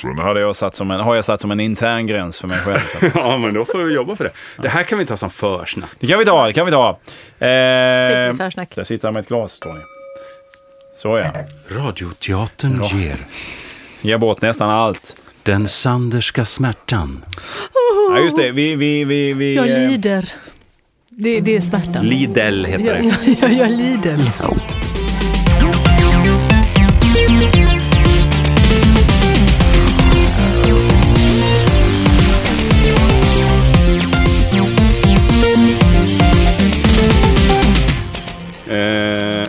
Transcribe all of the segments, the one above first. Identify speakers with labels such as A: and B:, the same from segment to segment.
A: Sen hade jag satt som en, har jag satt som en intern gräns för mig själv. Så att-
B: Ja, men då får vi jobba för det. Det här kan vi ta som försnack.
A: Det kan vi ta, det kan vi ta. Eh,
C: Skickligt försnack.
A: där sitter han med ett glas, Tony. Så ja.
B: Radioteatern ger
A: Ge bort nästan allt.
B: den sanderska smärtan.
A: Ja, just det. Vi, vi, vi, vi,
C: Jag
A: eh,
C: lider. Det, det är smärtan.
B: Lidl heter
C: jag,
B: det.
C: jag, jag, jag lider.
B: Eh,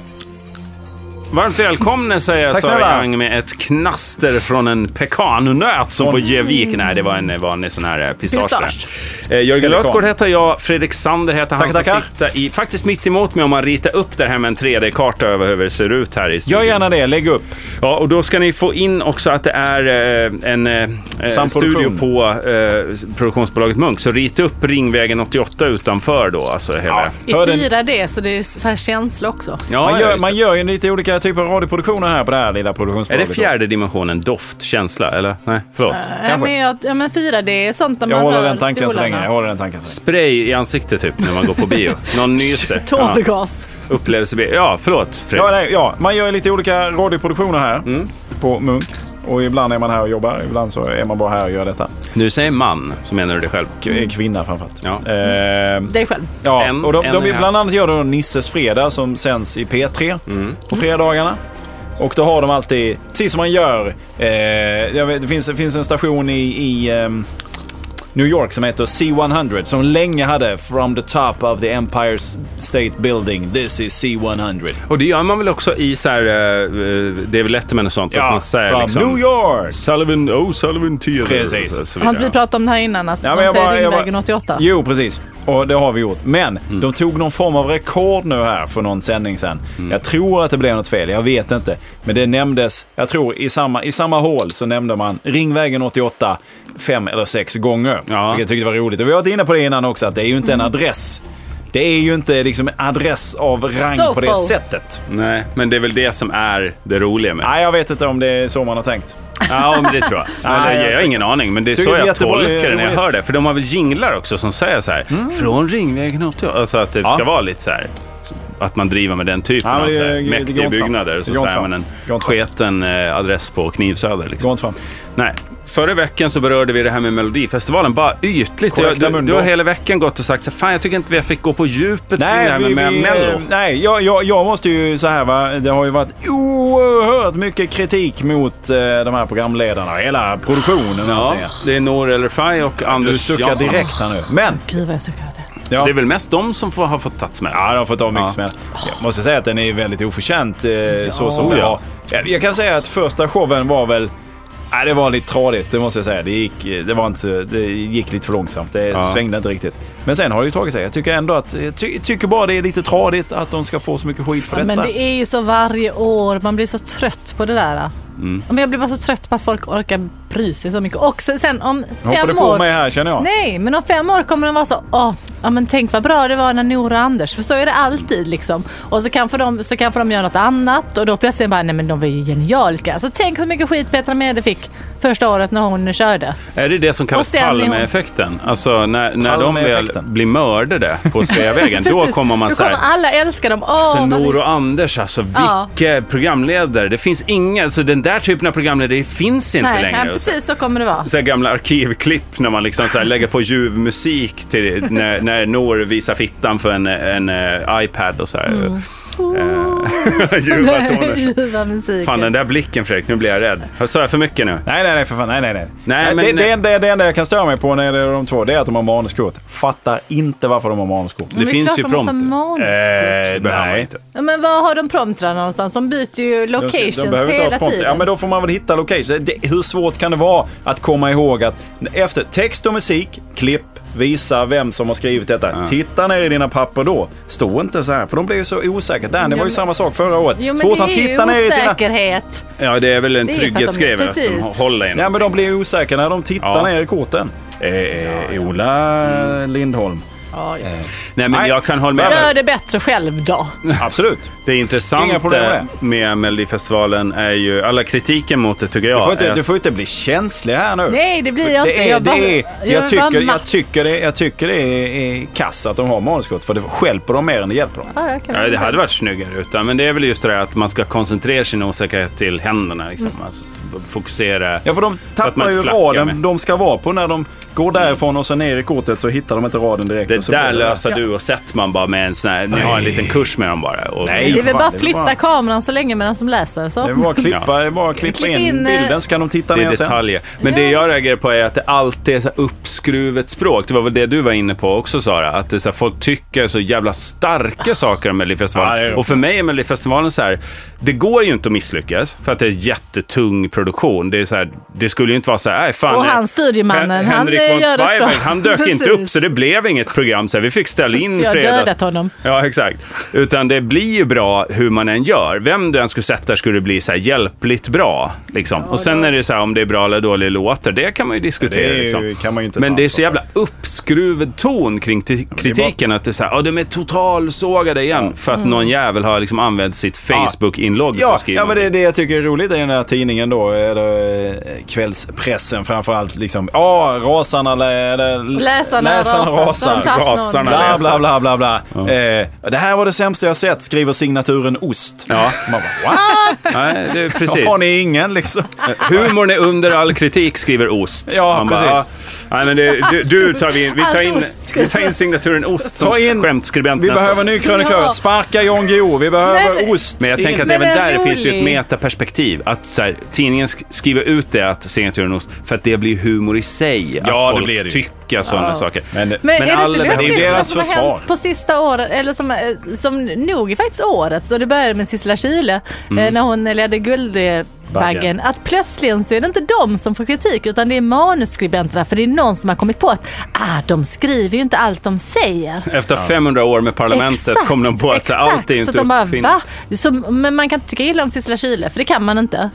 B: varmt välkomna säger jag
A: Tack
B: Sara
A: snälla.
B: Young med ett knaster från en pekannöt som på Gevik.
A: Mm.
B: Nej, det var en vanlig sån här eh, pistage.
C: Pistage.
B: Eh, Jörgen
A: Pelikan.
B: Lötgård heter jag, Fredrik Sander heter han
A: Tackar,
B: som
A: tackar.
B: sitter i, faktiskt mitt emot mig om man ritar upp det här med en 3D-karta över hur det ser ut här i studion.
A: Gör gärna det, lägg upp.
B: Ja, och då ska ni få in också att det är eh, en eh,
A: Samproduktion.
B: studio på eh, produktionsbolaget Munk. Så rita upp Ringvägen 88 utanför då, alltså hela...
C: Vi
A: Hör den-
C: firar det, så det är så här känsla också.
B: Ja,
A: Man gör,
B: just det.
A: man gör ju lite olika typer av radioproduktioner här på det här lilla
B: Är det
A: produktionsbolaget.
B: fjärde dimensionen doft, känsla, eller? Nej, förlåt.
C: Ja, men, jag, ja, men fira det är sånt där
A: Jag
C: man
A: håller
C: rör
A: den tanken så
C: stolarna.
A: länge. Jag håller den tanken så länge.
B: Spray i ansiktet typ när man går på bio. Någon nyser. Ja,
C: Tårgas.
B: upplevelsebio. Ja, förlåt
A: Ja,
B: Fredrik.
A: nej, ja, man gör ju lite olika radioproduktioner här
B: Mm.
A: på Munk. Och ibland är man här och jobbar, ibland så är man bara här och gör detta.
B: Nu säger man, så menar du det själv.
A: K- Kvinna framförallt.
B: Mm. Ja.
A: Eh,
C: Dig själv.
A: ja.
B: En-
A: och de,
B: en
A: de,
B: är här.
A: bland annat gör de Nisses fredag som sänds i P3
B: Mm.
A: på fredagarna. Och då har de alltid, precis som man gör, eh, jag vet, det, finns, det finns en station i, i ehm, New York som heter C100 som länge hade From the top of the Empire State Building, this is C100.
B: Och det gör man väl också i så här, uh, David Letterman och sånt. att man säger liksom
A: from New York!
B: Sullivan, oh Sullivan Theater.
A: Precis.
B: och så
C: Har
B: vidare.
C: inte vi pratat om det här innan? Att
A: Ja, men
C: de
A: jag
C: säger
A: bara- jag bara-
C: Ringvägen 88?
A: Jo, precis. Och det har vi gjort. Men de tog någon form av rekord nu här för någon sändning sen. Jag tror att det blev något fel, jag vet inte. Men det nämndes, jag tror i samma, i samma hål så nämnde man Ringvägen 88 fem eller sex gånger.
B: Ja.
A: Vilket jag tyckte var roligt. Och vi har varit inne på det innan också, att det är ju inte en
C: Mm.
A: adress. Det är ju inte liksom en adress av rang på det
C: Sofo.
A: sättet.
B: Nej, men det är väl det som är det roliga med det.
A: Nej, jag vet inte om det är så man har tänkt.
B: Ja, men det tror jag.
A: Nej,
B: Men det,
A: jag
B: jag har ingen aning, men det är
A: Tycker
B: så
A: det är
B: jag
A: jättebra, det är
B: tolkar det när jag
A: roligt. Mm.
B: hör det. För de har väl jinglar också som säger så här, från Ringvägen 88. Alltså att det ska vara lite så här, att man driver med den typen
A: Ja, men
B: av
A: det-
B: så
A: det
B: här,
A: går
B: mäktiga
A: inte fram.
B: byggnader. Så
A: Det går inte
B: säger man
A: fram.
B: en
A: Det går inte fram.
B: sketen eh, adress på Knivsöder.
A: Gå
B: Liksom.
A: inte fram.
B: Nej, förra veckan så berörde vi det här med Melodifestivalen, bara ytligt. Jag,
A: Korrekta
B: du, du
A: mundo.
B: har hela veckan gått och sagt så här, fan jag tycker inte vi fick gå på djupet kring det
A: Nej,
B: här med,
A: vi,
B: med
A: vi,
B: Mello.
A: eh, nej jag, jag, jag måste ju så här va. Det har ju varit oerhört mycket kritik mot eh, de här programledarna och hela produktionen. och
B: Ja,
A: allting.
B: det är Nour El Refai och
A: Du
B: Anders
A: suckar
B: Jansson.
A: direkt här nu. Men,
C: Gud vad jag suckar åt det.
A: ja.
B: Det är väl mest de som får, har fått ta smäll?
A: Ja, de har fått av mycket
B: Ja.
A: smäll. Jag måste säga att den är väldigt oförtjänt eh, så som
B: Oh,
A: den
B: ja.
A: var. Eh, Jag- Jag kan säga att första showen var väl... Nej, det var lite tradigt, det måste jag säga. Det gick, eh, det var inte, så- det gick lite för långsamt. Det
B: Ja.
A: svängde inte riktigt. Men sen har det ju tagit sig. Jag tycker ändå att... Jag ty, tycker bara det är lite tradigt att de ska få så mycket skit för
C: Ja,
A: detta.
C: men det är ju så varje år, man blir så trött på det där. Ja,
A: Mm.
C: Men jag blir bara så trött på att folk orkar bry sig så mycket. Och sen, sen om
A: Hoppade
C: fem
A: på
C: år...
A: mig här känner jag.
C: Nej, men om fem år kommer de vara så, åh, ja men tänk vad bra det var när Nora och Anders, för så är det alltid liksom. Och så kanske de, så kanske de gör något annat och då plötsligt bara, nej men de var ju genialiska. Alltså tänk så mycket skit Petra Mede fick första året när hon körde.
B: Är det det som
C: Och
B: kallas
C: sen är hon-
B: Palmeeffekten? Alltså när, när de väl
A: Palmeeffekten.
B: blir mördade på Sveavägen, då
C: Precis.
B: kommer man Alltså,
C: Då
B: så här...
C: kommer alla älska dem. Åh,
B: Sen
C: vad vi-
B: Nour och Anders, alltså
C: Ja.
B: vilka programledare. Det finns inga, alltså den där typen av programledare finns inte
C: nej,
B: längre. Alltså,
C: nej, precis så kommer det vara.
B: Så här gamla arkivklipp när man liksom så här lägger på ljuv musik till, när, när Nour visar fittan för en, en eh, iPad och så här.
C: Mm.
B: Eh, Ljuva toner.
C: Ljuva musiken.
B: Fan den där blicken Fredrik, nu blir jag rädd. Sa jag för mycket nu?
A: Nej, nej, nej, för fan. Nej, nej, nej.
B: Nej,
A: Nej,
B: men-
A: det, det, enda- det enda jag kan störa mig på när det är de två, det är att de har manuskort. Fattar inte varför de har manuskort.
C: Men
B: det
C: är
B: finns
C: klart
B: ju
C: de måste ha
B: prompter.
C: manus.
A: Eh,
B: behöver man inte.
C: Ja, Men var har de promptrar någonstans? De byter ju
A: De ska-
C: locations
A: de behöver inte ha
C: hela
A: prompt.
C: tiden.
A: Ja, men då får man väl hitta location. Det, hur svårt kan det vara att komma ihåg att efter text och musik, klipp, visa vem som har skrivit detta. Titta ner i dina papper då. Stå inte så här, för de blir ju så osäkra. Dan, det var ju
C: men-
A: samma sak förra året.
C: Jo, men
A: så fort
C: det
A: han
C: är ju
A: tittar ner i sina...
C: osäkerhet.
B: Ja, det är väl en
C: Det är för att de-
B: trygghetsgrej väl, att de
C: precis.
B: håller in.
A: Ja, men de blir ju osäkra när de tittar
B: Ja. Mm.
A: ner i korten. Eh, eh, Ola Lindholm.
C: Ja, ja.
B: Nej, men
A: Nej.
B: jag kan hålla med.
C: Gör det bättre själv då.
A: Absolut.
B: Det
A: Inga
B: intressanta
A: problem med
B: med, Melodifestivalen är ju, alla kritiken mot det tycker jag,
A: Du får, inte,
B: är
A: du får inte bli känslig här nu.
C: Nej, det blir jag inte.
A: Det är,
C: jag bara,
A: det är,
C: jag
A: jag,
C: vill bara
A: tycker, jag,
C: matt.
A: tycker det, jag tycker det är, är kass att de har manusgott för det stjälper dem mer än det hjälper dem.
C: Ja, jag kan
B: Ja, det hade varit snyggare utan, men det är väl just det där att man ska koncentrera sin osäkerhet till händerna. Liksom. Alltså, f- fokusera.
A: Ja, för de
B: Så att man
A: tappar ju
B: inte flackar
A: raden
B: med.
A: de ska vara på när de går därifrån och så ner i kortet så hittar de inte raden direkt. och
B: Det
A: så
B: där
A: blir
B: löser du och sätter man bara med en sån här, ni har en liten kurs med dem bara. Och,
A: Nej.
C: Det är väl
A: Fan,
C: bara
A: det är
C: flytta
A: bara-
C: kameran så länge medan som läser. Så.
A: Det är bara att klippa, det är bara att klippa
C: Klipp
A: in,
C: in, eh,
A: bilden så kan de titta
B: Det är
A: ner sen.
B: detaljer. Men det jag reagerar på är att det alltid är så här uppskruvet språk. Det var väl det du var inne på också Sara. Att det är så här, folk tycker så jävla
C: Ah.
B: starka saker om
A: Ja, det är
B: Melodifestivalen.
A: det.
B: och för mig är Melodifestivalen så här. Det går ju inte att misslyckas för att det är jättetung produktion. Det, är så här, det skulle ju inte vara så här. "Nej, Fan,
C: Och
B: eh,
C: han, studiemannen,
B: Hen-
C: han,
B: Henrik
C: eh,
B: von
C: gör det bra."
B: Zweigbergk, han dök inte upp
C: Precis.
B: så det blev inget program. Så här, vi fick ställa in
C: Jag har
B: fredags.
C: dödat honom.
B: Ja, exakt. Utan det blir ju bra hur man än gör. Vem du än skulle sätta skulle det bli så här hjälpligt bra. Liksom. och sen är det så här om det är bra eller dåliga låtar, det kan man ju diskutera.
A: Ja, det är ju-
B: liksom.
A: kan man ju inte ta
B: Men det är så
A: ansvar för.
B: jävla uppskruvad ton kring ti- kritiken. Att det är så här, ja de är totalsågade igen. För
C: Mm.
B: att någon jävel har liksom använt sitt Facebook-inlogg för
A: Ja,
B: att skriva.
A: ja, men det är det jag tycker är roligt i den här tidningen då, eller eh, kvällspressen framförallt. Liksom, ja, rasarna, lä- lä-
C: Läsarna rasar.
A: rasar.
C: De tappar
B: rasarna
C: någon.
A: Bla,
B: läser.
A: bla, bla, bla, bla. Eh, det här var det sämsta jag sett, skriver signaturen Ost.
B: Ja.
A: Man bara, what?
B: Nej, det är precis.
A: Har ni ingen liksom?
B: Humorn är under all kritik, skriver Ost.
A: Ja,
B: Man bara,
A: precis.
B: "Ah, nej, men det, du, du tar vi in, vi tar
C: Allt
B: in,
C: ost,
B: vi tar in signaturen Ost som
A: Ta in-
B: skämtskribent
A: Vi
B: nästa
A: behöver
B: år.
A: en ny krönikör.
C: Ja.
A: Sparka Jan Guillou. Vi behöver
C: Men-
A: ost.
B: Men jag
A: in.
B: tänker att
C: Men
B: även
C: det är
B: där finns det ju ett
C: rolig.
B: metaperspektiv. Att så här, tidningen sk- skriver ut det, att signaturen Ost, för att det blir humor i sig. att
A: Ja, det
B: folk
A: blir det ju.
B: tycka sådana
C: Ja.
B: saker.
A: Men-
C: Men, är det
B: alla
C: inte
A: det
B: behöver-
A: är
C: lustigt vad
A: deras
C: som har
A: försvar.
C: hänt på sista året, eller som, eh, som nog är faktiskt året, så det började med Sissela Kyle
A: Mm.
C: eh, när hon ledde Guldbaggen,
B: Baggen.
C: att plötsligen så är det inte de som får kritik utan det är manusskribenterna för det är någon som har kommit på att ah, de skriver ju inte allt de säger.
B: Efter 500 år med parlamentet kom de på att så här, allt är
C: exakt.
B: inte
C: så de bara,
B: uppfinnet.
C: va? Så, men man kan inte tycka illa om Sissela Kyle, för det kan man inte.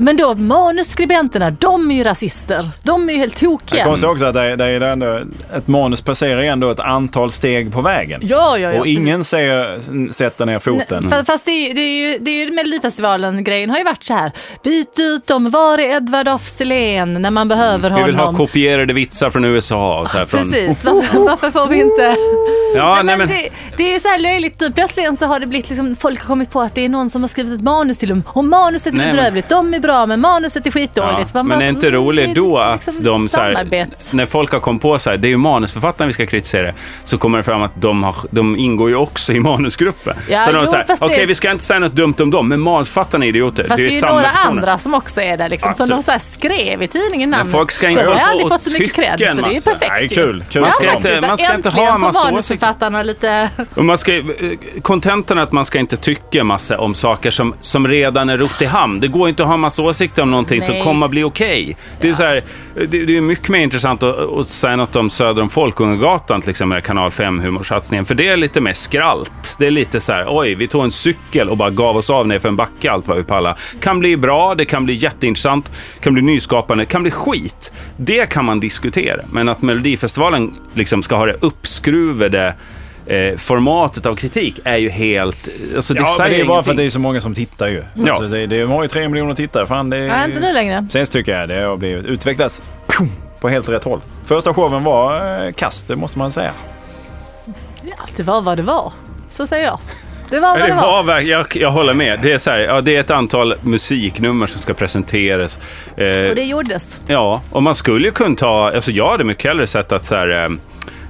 C: Men då manuskribenterna, de är ju rasister. De är ju helt tokiga.
A: Jag kommer ihåg också att det, det är ändå, ett manus passerar ändå ett antal steg på vägen.
C: Ja, ja, ja.
A: och ingen säger, sätter ner foten.
C: Fa- Fast det är, ju- det är ju, det är ju Melodifestivalen-grejen har ju varit så här. Byt ut dem, var är Edvard af Sillén när man behöver
B: Mm, Vi
C: honom?
B: vill ha kopierade vitsar från USA. och Så här, från,
C: Precis, varför, varför får vi inte?
B: Ja,
C: nej,
B: nej, men,
C: Det, det är ju så här löjligt. Nu plötsligen så har det blivit liksom, folk har kommit på att det är någon som har skrivit ett manus till dem. Och manuset är
B: Nej, men-
C: bedrövligt, de är bra men manuset är skitdåligt.
B: Ja,
C: Man
B: men
C: bara
B: det är
C: så,
B: inte
C: nej,
B: roligt
C: det är
B: då att
C: liksom
B: de så här,
C: samarbets-
B: när folk har kommit på så här, det är ju manusförfattaren vi ska kritisera, så kommer det fram att de, har, de ingår ju också i manusgruppen.
C: Ja,
B: så de
C: jo,
B: så här,
C: fast det-
B: okej vi ska inte säga något dumt om dem, men manusförfattarna är idioter.
C: Fast det är ju
B: samma
C: några
B: personer.
C: andra som också är där liksom, som
B: Absolut.
C: de så här skrev i tidningen
B: Men
C: namnet.
B: folk ska inte
C: de har
B: hålla
C: ju
B: på
C: aldrig
B: och
C: fått så mycket
B: tycka
C: cred
B: en
C: så det är ju
B: massa.
C: perfekt.
A: Nej,
C: ju.
A: kul. Kul
C: Ja,
A: för
B: ska
A: dem.
B: inte- man ska inte
C: äntligen
B: ha en
C: får
B: massa
C: manusförfattarna lite...
B: Och man ska, eh, kontentan är att man ska inte tycka massa om saker som, som redan är rott i hamn. Det går inte att ha massa åsikter om någonting som
C: Nej.
B: kommer att bli okej. Det, är så här, det, det är mycket mer intressant att, att säga något om Söder om Folkungagatan, till exempel Kanal 5-humorsatsningen. För det är lite mer skralt. Det är lite så här, oj, vi tog en cykel och bara gav oss av ner för en backe allt vad vi pallade. Kan bli bra, det kan bli jätteintressant, kan bli nyskapande, kan bli skit. Det kan man diskutera. Men att Melodifestivalen liksom ska ha det uppskruvade eh, formatet av kritik är ju helt... Alltså det
A: Ja, men
B: säger
A: det är bara för att det
B: ingenting.
A: är så många som tittar ju.
B: Ja.
A: Alltså, det, det har ju tre miljoner tittare. Fan, det är,
C: Nej, inte nu längre.
A: Sen så tycker jag det har blivit, utvecklats pum, på helt rätt håll. Första showen var eh, kast, det måste man säga.
C: Ja, det var vad det var. Så säger jag. Det var
B: Ja,
C: vad
B: det
C: det
B: var
C: var.
B: verk- jag, jag håller med. Det är, så här, ja, det är ett antal musiknummer som ska presenteras. Eh,
C: Och det gjordes.
B: Ja, och man skulle ju kunna ta... Alltså jag hade mycket hellre sett att så här, eh,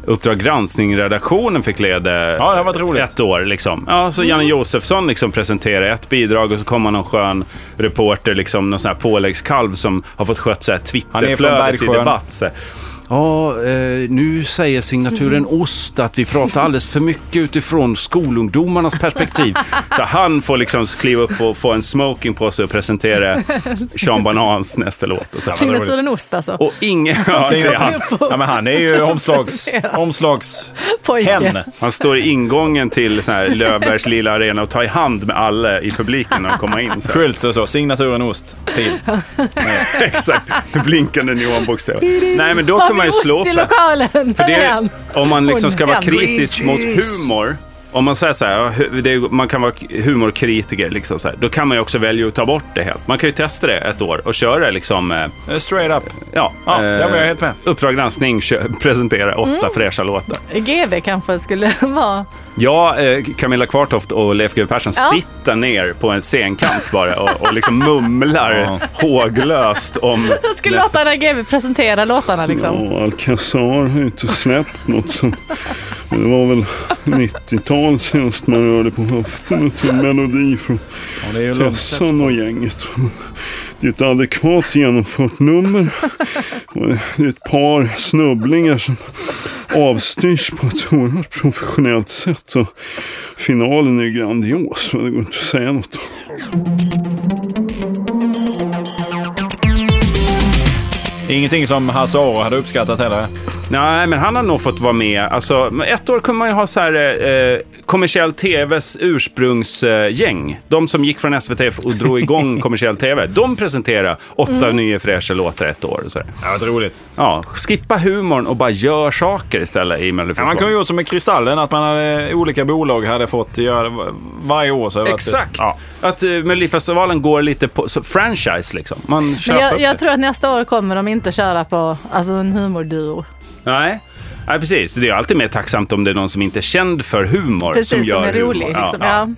B: Uppdrag granskning-redaktionen fick leda
A: Ja, det har varit roligt.
B: ett år. Liksom. Ja, så
C: Mm.
B: Janne Josefsson liksom presenterade ett bidrag och så kommer någon skön reporter, liksom, någon sån här påläggskalv som har fått skött så här
A: Han är från
B: Twitterflödet i
A: Bergsjön.
B: debatt. Så här, Ja, eh, nu säger signaturen
C: Mhm.
B: Ost att vi pratar alldeles för mycket utifrån skolungdomarnas perspektiv. Så han får liksom kliva upp och få en smoking på sig och presentera Sean Banans nästa låt. Och så här.
C: Signaturen Ost alltså.
B: Och ingen... Ja, det är han.
A: Ja, men han är ju omslags... omslags hen.
C: Pojke.
B: han står i ingången till så här Löfbergs lilla arena och tar i hand med alla i publiken när de kommer in. Så här.
A: Skylt och så, signaturen ost, pil.
B: Exakt, blinkande neonbokstäver. Nej, men då
C: Varför
B: man ju
C: ost
B: slå
C: i
B: på.
C: lokalen.
B: För
C: Där är han.
B: det, om man liksom ska vara
C: Hon är han.
B: kritisk mot humor. Om man säger så här, ja, hu- det, är- man kan vara k- humorkritiker, liksom så här, då kan man ju också välja att ta bort det helt. Man kan ju testa det ett år och köra liksom, eh,
A: Eh, Straight up.
B: ja,
A: Ja, där var jag helt med.
B: Uppdrag granskning kö- presentera åtta
C: Mm.
B: fräscha låtar.
C: GV kanske skulle vara...
B: Ja, eh, Camilla Kvartoft och Leif GW Persson
C: Ja.
B: sitter ner på en scenkant bara och, och liksom mumlar håglöst om...
C: Jag skulle låta den här GV presentera låtarna liksom.
D: Ja, Alcazar har ju inte släppt något sen... Det var väl 90-tal senast man rörde på höften till en melodi från
A: Ja, det är ju lugnt.
D: Tessan och gänget. Det är ett adekvat genomfört nummer. Och Det är ett par snubblingar som avstyrs på ett oerhört professionellt sätt. Och finalen är ju grandios, men det går inte att säga något om.
A: Det är Ingenting som Hasse Aro hade uppskattat heller.
B: Nej, men han har nog fått vara med. Alltså, men ett år kunde man ju ha så här, eh, eh, kommersiell tvs ursprungsgäng. Eh, gäng. de som gick från SVT och drog igång kommersiell tv. De presenterade åtta
C: Mm.
B: nya fräscha låtar ett år. och Så här.
A: Ja, vad roligt.
B: ja, skippa humorn och bara gör saker
A: man
B: istället i
A: kunde
B: Melodifestivalen.
A: ha gjort som med Kristallen, att man hade, eh, olika bolag hade fått göra var- varje år. Så hade det varit-
B: Exakt!
A: Ja.
B: Att eh, Melodifestivalen går lite på så, franchise liksom. Man
C: Men
B: köper upp
C: jag,
B: det.
C: jag tror att nästa år kommer de inte köra på alltså, en humorduo.
B: Nej. Nej, precis. Det är alltid mer tacksamt om det är någon som inte är känd för humor
C: Precis, som,
B: som gör
C: är
B: humor.
C: rolig.
B: Ja,
C: Liksom.
B: ja.
C: Ja.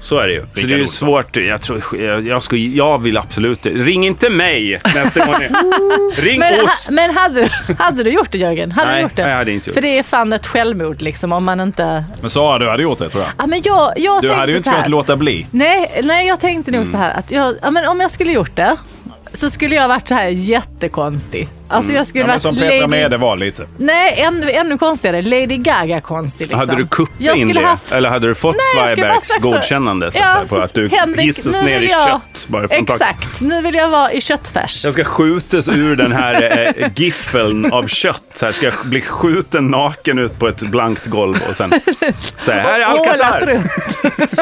B: Så är det ju. Så det är ju
A: Olsson.
B: svårt. Jag, tror, jag, jag, skulle, jag vill absolut Ring inte mig nästa gång. ni- Ring
C: Men, alltså, ha,
B: oss.
C: men hade, du- hade du gjort det Jörgen? Hade
B: Nej,
C: du gjort det?
B: nej, jag hade inte gjort
C: För det är fan ett självmord liksom om man inte...
A: Men Sara, du hade gjort det tror jag.
C: Ja, men jag, jag
A: Du
C: tänkte
A: hade ju inte
C: så här.
A: kunnat låta bli.
C: Nej, nej, jag tänkte nog
B: Mm.
C: så här att jag, ja, men om jag skulle gjort det så skulle jag varit så här jättekonstig. Alltså jag skulle
A: Ja, men
C: varit
A: som Petra
C: Lady-
A: Mede var lite.
C: Nej, ännu, ännu konstigare. Lady Gaga-konstig liksom.
B: Hade du kuppat
C: Jag
B: in
C: skulle
B: det?
C: Haft...
B: Eller hade du fått
C: Nej, jag skulle bara
B: Zweibergs
C: sagt så-
B: godkännande så att
C: Ja,
B: säga, på att du
C: Henrik,
B: gissas
C: nu
B: ner i
C: vill jag-
B: kött? Bara från taket?
C: Exakt, nu vill jag vara i köttfärs.
B: Jag ska skjutas ur den här eh, giffeln av kött. Så här ska jag bli skjuten naken ut på ett blankt golv och sen... Så här, här är
C: Ålat
B: Alcazar!
C: runt.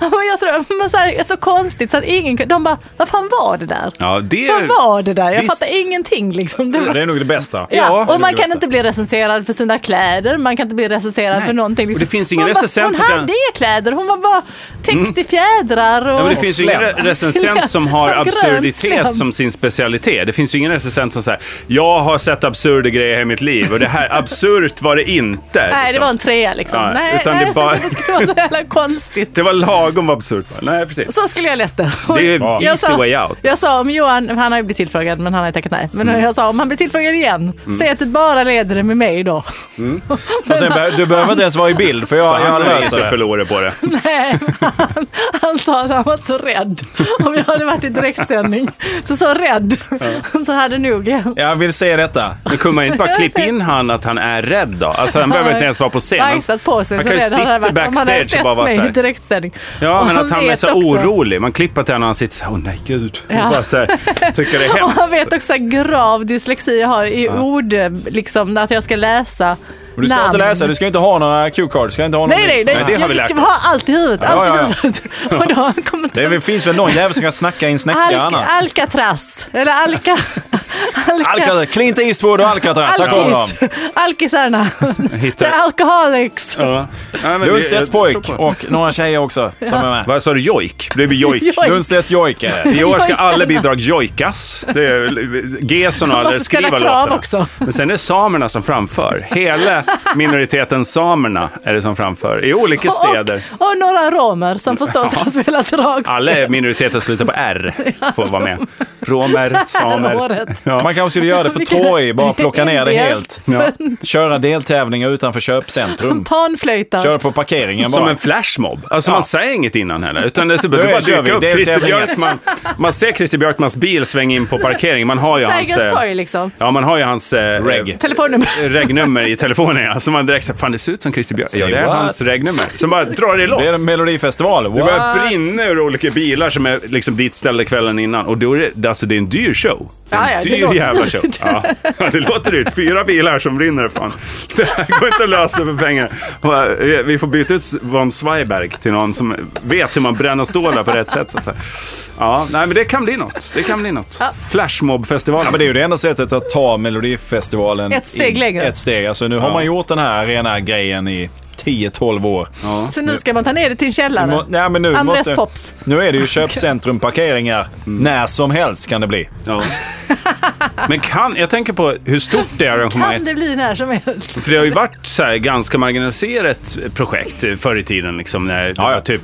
C: Ja, men jag tror, men så, här, så konstigt så att ingen kunde- De bara, vad fan var det där?
B: Ja, det...
C: Vad var det där? Jag
B: Visst.
C: fattar ingenting liksom. Det var...
A: Det är nog det bästa.
C: Ja,
B: Ja,
C: och man
A: det bästa.
C: kan inte bli recenserad för sina kläder, man kan inte bli recenserad för någonting.
B: Och det finns ingen
C: hon bara-
B: recensent
C: Hon
B: som kan-
C: hade inga kläder, hon var bara täckt i fjädrar. Och...
B: Ja, men det finns ju ingen
A: Slem.
B: re- recensent som har
C: Grönt slem.
B: absurditet som sin specialitet. Det finns ju ingen recensent som säger jag har sett absurda grejer i mitt liv och det här absurt var det inte.
C: Nej, det
B: liksom.
C: var en trea liksom.
B: Ja,
C: nej,
B: utan det
C: nej,
B: bara-
C: det skulle vara så jävla konstigt.
B: det var lagom absurt. bara. Nej, precis.
C: Så skulle jag lätt det.
B: Det är ju
C: Jag
B: easy
C: sa-
B: way out.
C: Jag sa om Johan, han har ju blivit tillfrågad men han har ju tackat nej. Men
B: Mm.
C: jag sa om han blir tillfrågad igen, säg att du bara leder det med mig då.
A: Och sen, be- du behöver inte ens vara i bild för jag, jag
B: Han är
A: löser
B: inte
A: det.
B: förlorare på det.
C: Nej, han, han sa att han var så rädd. Om jag hade varit i direktsändning, så så rädd, så hade nog jag.
A: Jag vill se detta.
B: Men kunde man inte bara klippa in han att han är rädd då? Alltså han behöver inte ens vara på scen. Han-
C: Bajsat på sig
B: han
C: så
B: kan ju
C: rädd han
B: sitta
C: hade varit. Om han hade
B: backstage och
C: sett
B: bara vara så
C: mig i
B: här.
C: direktsändning.
B: Ja,
C: Och
B: men att han är
C: vet
B: så
C: också-
B: orolig. Man klipper till honom och han sitter så här, åh nej gud.
C: Ja.
B: Bara så här, tycker det är
C: Och han
B: hemskt.
C: vet också hur grav dyslexi jag har i ord, liksom att jag ska läsa
A: Men du ska
C: namn.
A: inte läsa, du ska inte ha några cue cards. Du ska inte ha någon
C: Nej, nej,
A: lista.
C: nej.
B: det har vi
C: jag ska
B: lärt oss.
C: ha allt i huvudet.
A: Ja, ja, ja.
C: Allt i huvudet. Och då har han kommit
A: Det är väl- finns väl någon jävel som kan snacka in snäckare
C: Alca-
A: annars?
C: Alcatraz. Eller Alca... Alca-
A: Alcatraz, Clint Eastwood och Alcatraz. Här kommer de.
C: Alkis. Alkisarna. The
B: Hittar-
C: alcoholics.
B: Ja. Nej, men det-
A: Lundstedts
B: jag- jag
A: pojk
B: tror på det.
A: och några tjejer också som är med.
B: Vad sa du, jojk? Det blir jojk.
C: Jojk.
A: Lundstedts jojke.
B: I år ska
C: Jojkarna.
B: alla bidrag jojkas. Det är Gesson och alla
C: måste ställa
B: skriva
C: krav
B: låtarna.
C: också.
B: Men sen är det samerna som framför. Hela minoriteten samerna är det som framför i olika städer.
C: Och, och några romer som förstår sig att spela dragspel.
B: Alla är minoriteter som slutar på R får vara med. Romer, samer.
C: året.
A: Man kanske skulle göra det på Troy, bara plocka ner det
C: Vilken
A: helt.
B: Ja.
A: Köra deltävlingar utanför köpcentrum.
C: Panflöjtar.
A: Kör på parkeringen
B: Som
A: bara.
B: en flashmob. Alltså
A: Ja.
B: man säger inget innan heller. Utan det är typ, du
A: är-
B: bara
A: kör vi.
B: dyker upp.
A: Det är
B: Christer
A: tävlingen.
B: Björkman, man ser Christer Björkmans bil svänga in på parkeringen. Man har ju hans...
C: Sergels
B: eh,
C: torg liksom.
B: Ja, man har ju hans... eh,
A: Reg.
C: Telefonnummer.
B: regnummer i telefonen. Ja. Så man direkt säger, fan det ser ut som Christer Björk. Ja, det är
A: what?
B: hans regnummer. Som bara drar det loss.
A: Det är en
B: Det
A: melodifestival.
B: börjar
A: What?
B: brinna ur olika bilar som är liksom ditställda kvällen innan. Och då är det, alltså det är en dyr show. Det är
C: Ja,
B: en
C: ja, det
B: det är ju
C: låter-
B: jävla köpt. Ja. Ja, det låter ut. Fyra bilar som brinner. Fan. Det här går inte att lösa med pengar. Va, Vi får byta ut von Zweiberg till någon som vet hur man bränner stålar på rätt sätt. Så att säga. Ja, nej, men det kan bli något. Det kan bli något. Flashmob-festivalen.
A: Ja, men det är ju det enda sättet att ta Melodifestivalen
C: Ett steg
A: i-
C: längre.
A: Ett steg. Alltså, nu har man gjort den här rena grejen i 10-12 år.
B: Ja.
C: Så nu ska man ta ner det till
A: Nu
C: en
A: må-
C: källare.
A: nej, men nu,
C: Andres
A: måste,
C: Pops.
A: nu är det ju köpcentrumparkeringar när som helst kan det bli.
B: Ja. Men kan, jag tänker på hur stort det
C: Kan
B: arrangemanget
C: det bli när som helst?
B: För det har ju varit så här ganska marginaliserat projekt förr i tiden. Liksom, när det
A: ja.
B: var typ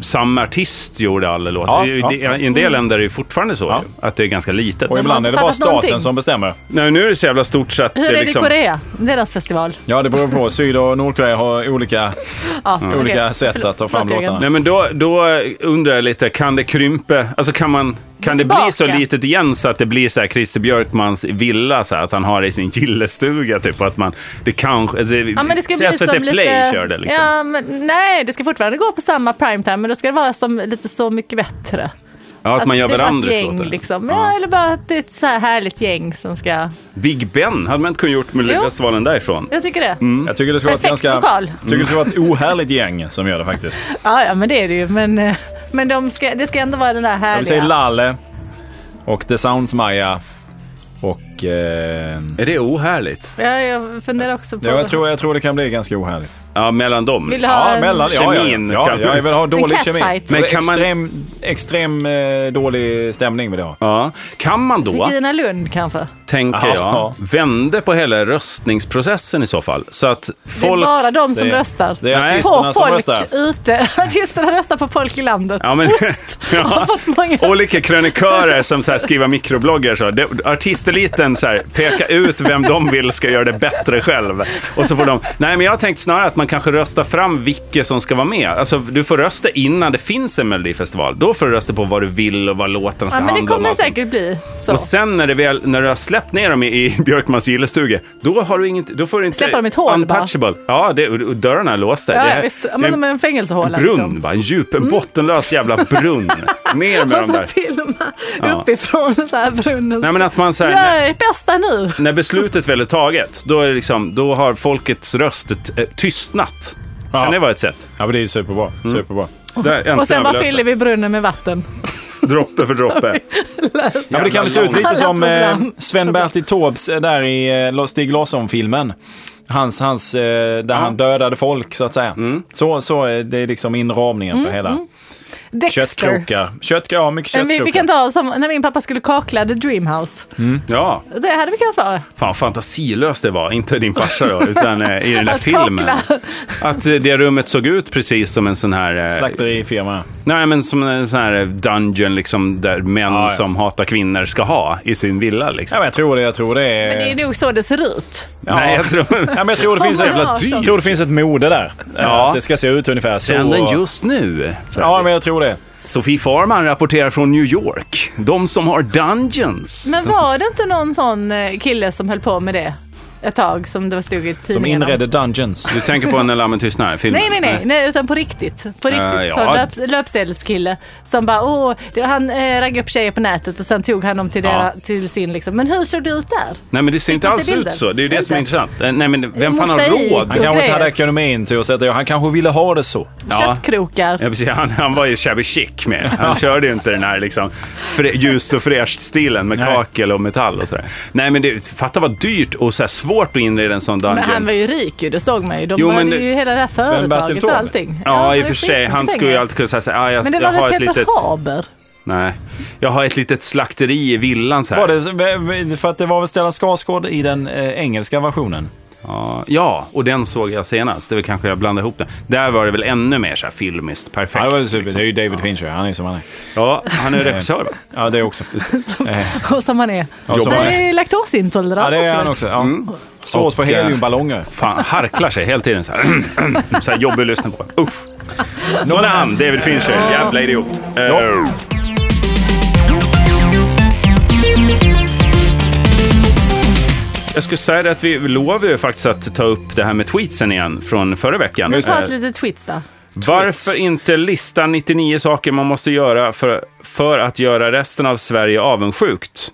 B: samma artist gjorde alla låtar.
A: Ja,
B: Det är ju-
A: ja.
B: det- I en
C: Mm.
B: del länder är det ju fortfarande så.
A: Ja.
B: ju, Att det är ganska litet.
A: Och
C: har
A: ibland
C: inte
A: är det bara
C: fattat
A: staten
C: någonting.
A: som bestämmer.
B: Nej, nu är det så jävla stort så att
C: Hur är
B: det
C: det
B: liksom...
C: i Korea? Deras festival?
A: Ja, det beror på. Syd och Nordkorea har olika,
C: Ja,
A: olika
C: okej.
A: sätt att ta fram
C: förlåt, Jörgen.
A: låtarna.
B: Nej men då, då undrar jag lite, kan det krympa? Alltså kan, man, kan det bli så
C: tillbaka.
B: litet igen så att det blir så här Christer Björkmans villa, så här, att han har det i sin gillestuga typ? Och att man, det kanske... Alltså,
C: Ja, men det ska bli
B: SVT
C: som
B: Play
C: lite...
B: kör det liksom.
C: ja, men, nej, det ska fortfarande gå på samma primetime, men då ska det vara som, lite Så mycket bättre. Alltså,
B: Ja, att man gör
C: det är bara ett
B: varandras
C: gäng,
B: låtar.
C: Liksom. Ja. eller bara att det är ett så här härligt gäng som ska...
B: Big Ben, hade man inte kunnat gjort Melodifestivalen därifrån?
C: Jag tycker det.
A: Jag tycker det ska vara ett
C: Perfekt
A: ganska...
C: lokal.
A: Jag tycker det ska vara ett ohärligt gäng som gör det faktiskt.
C: Ja, ja, men det är det ju. Men, eh, men de ska, det ska ändå vara den där
A: Vi säger
C: härliga...
A: Lalle och The Sounds Maja och... Eh,
B: Är det ohärligt?
C: Ja, jag funderar också på...
A: ja, jag, tror, jag tror det kan bli ganska ohärligt.
B: Ja, mellan dem.
C: Vill du ha en-
A: ja, ja,
B: Kemin,
A: ja,
B: kanske.
A: ja, jag vill ha dålig
C: catfight.
A: kemi.
C: Men
A: Men
B: kan man-
A: extrem, extrem eh, dålig stämning vill jag ha.
B: Ja. Kan man då,
C: Regina Lund kanske?
B: tänker
A: Ja.
B: jag, vända på hela röstningsprocessen i så fall? Så att
C: Det är
B: folk...
C: bara de som
A: det är-
C: röstar.
A: Det är
B: Nej.
A: artisterna
C: på
A: som
C: folk
A: röstar.
C: ute. Artisterna röstar på folk i landet.
B: Ja, men-
C: Ost!
B: Ja.
C: Har fått många...
B: Olika krönikörer som så här skriver mikrobloggar. Så. Det- Artisteliten så här, pekar ut vem de vill ska göra det bättre själv. Och så får de... Nej, men jag har tänkt snarare att man kanske röstar fram vilka som ska vara med. Alltså, du får rösta innan det finns en Melodifestival. Då får du rösta på vad du vill och vad låten ska
C: Ja, men det
B: handla om.
C: kommer
B: och allting.
C: säkert bli så.
B: Och sen när, det väl, när du har släppt ner dem i, i Björkmans gillestuga, då, har du inget, då får du inte...
C: Släppa dem i ett hål bara.
B: Untouchable. Ja, det, och- och dörrarna är låsta.
C: ja,
B: det,
C: ja,
B: är-
C: visst. Ja,
B: det är
C: men som en
B: en
C: fängelsehåla. liksom.
B: brunn, bara, en djup,
C: Mm.
B: en bottenlös jävla brunn. ner med
C: liksom.
B: dem
C: Och
B: där.
C: så filma
B: Ja.
C: uppifrån så här brunnen.
B: Nej, men att man så här, när,
C: Gör ert bästa nu.
B: när beslutet väl är taget, då, är det liksom, då har folkets röst eh, tystnat.
A: Ja.
B: Kan det vara Mm. ett sätt?
A: Ja, men det är ju superbra. superbra.
B: Där,
C: Och sen bara fyller vi brunnen med vatten.
B: Droppe för droppe.
A: Ja, men det kan väl se ut lite
C: Alla
A: som eh,
C: program.
A: Sven-Bertil Taubes eh, där i eh, Stig Larsson-filmen. Hans, hans, eh, där han dödade folk så att säga.
B: Mm.
A: Så, så är det är liksom inramningen för hela.
C: Dexter.
A: Köttkrokar. Kött, ja, mycket
C: Mm, Men
A: köttkrokar.
C: vi, vi kan ta som när min pappa skulle kakla The Dreamhouse.
B: Ja,
C: Det hade vi kunnat vara.
B: fan fantasilöst det var. Inte din farsa då, utan eh, i den där
C: Att
B: filmen.
C: kakla.
B: Att eh, det rummet såg ut precis som en sån här... eh,
A: Slakterifirma.
B: Nej, men som en sån här eh, dungeon liksom, där män
A: Ja, ja.
B: som hatar kvinnor ska ha i sin villa. Liksom.
A: Ja, men jag tror det. Jag tror det är...
C: Men det är nog så det ser ut.
A: ja.
B: Nej, jag tror...
A: Ja, men jag tror det, finns
C: Kommer
A: ett,
C: det vara så?
A: jag tror det finns ett mode där.
B: Ja.
A: Att det ska se ut ungefär så.
B: Trenden just nu. Så här.
A: Ja, men jag tror det.
B: Sofie Farman rapporterar från New York. De som har dungeons.
C: Men var det inte någon sån eh, kille som höll på med det ett tag som det var stod i
A: Som
C: tidningarna?
A: inredde dungeons.
B: Du tänker på När lammen tystnar? Filmen?
C: Nej, nej, nej, nej, utan på riktigt. På riktigt
B: Eh,
C: så
B: ja.
C: löp, löpsedelskille som bara, åh, det, han eh, raggade upp tjejer på nätet och sen tog han dem till,
B: Ja.
C: dera, till sin liksom. Men hur såg det ut där?
B: Nej, men det ser inte
C: Fick man
B: alls
C: se
B: ut
C: bilden?
B: så. Det är ju det som är
C: Inte.
B: intressant. Eh, Nej, men vem fan har
C: Mosaik.
B: råd?
A: Han kanske inte
C: Grejer.
A: hade ekonomin till att sätta Han kanske ville ha det så.
B: Ja.
C: Köttkrokar.
B: Ja, precis. Han, han var ju shabby chic med. Han körde ju inte den här liksom, frä, ljust och fräscht-stilen med
A: Nej.
B: kakel och metall och sådär. Nej, men det, fatta vad dyrt och så här svårt att inreda en sån dungeon.
C: Men han var ju rik ju, det såg man ju. De
B: Jo,
C: jo,
B: men
C: började
B: det-
C: ju hela det här företaget
A: Bertil
C: och
A: Taube.
C: allting.
B: Ja, i och
C: det
B: för
C: var
B: sig. Han
C: skitmycket
B: skulle ju
C: pengar.
B: alltid kunna säga så här, ah, jag,
C: Men det
B: jag
C: var
B: har
C: väl
B: ett
C: Peter
B: litet...
C: Haber?
B: Nej. Jag har ett litet slakteri i villan så här.
A: Var det, för att det var väl Stellan Skarsgård i den eh, engelska versionen?
B: Ja, Ja, och den såg jag senast. Det var kanske jag blandade ihop den. Där var det väl ännu mer så här filmiskt perfekt. liksom.
A: Ja, det var ju super. Det är ju David Fincher. Han är som han är.
B: Ja, han är regissör va?
A: Ja, det också.
C: Och som han är.
A: Ja, som
C: Nej,
A: han är.
C: är
A: Ja,
C: laktosintolerant
A: det Mm. eh, är
C: också.
A: han också. Ja. Svårt för
B: Och,
A: heliumballonger.
B: Fan, harklar sig hela tiden så här. så här jobbig att lyssna på. Usch. Sådana han, David Fincher. Jävla idiot. Eh, Jag skulle säga det att vi lovade ju faktiskt att ta upp det här med tweetsen igen från förra veckan.
C: Vi tar
B: Eh,
C: ett litet twits där.
B: Varför inte lista 99 saker man måste göra för, för att göra resten av Sverige avundsjukt?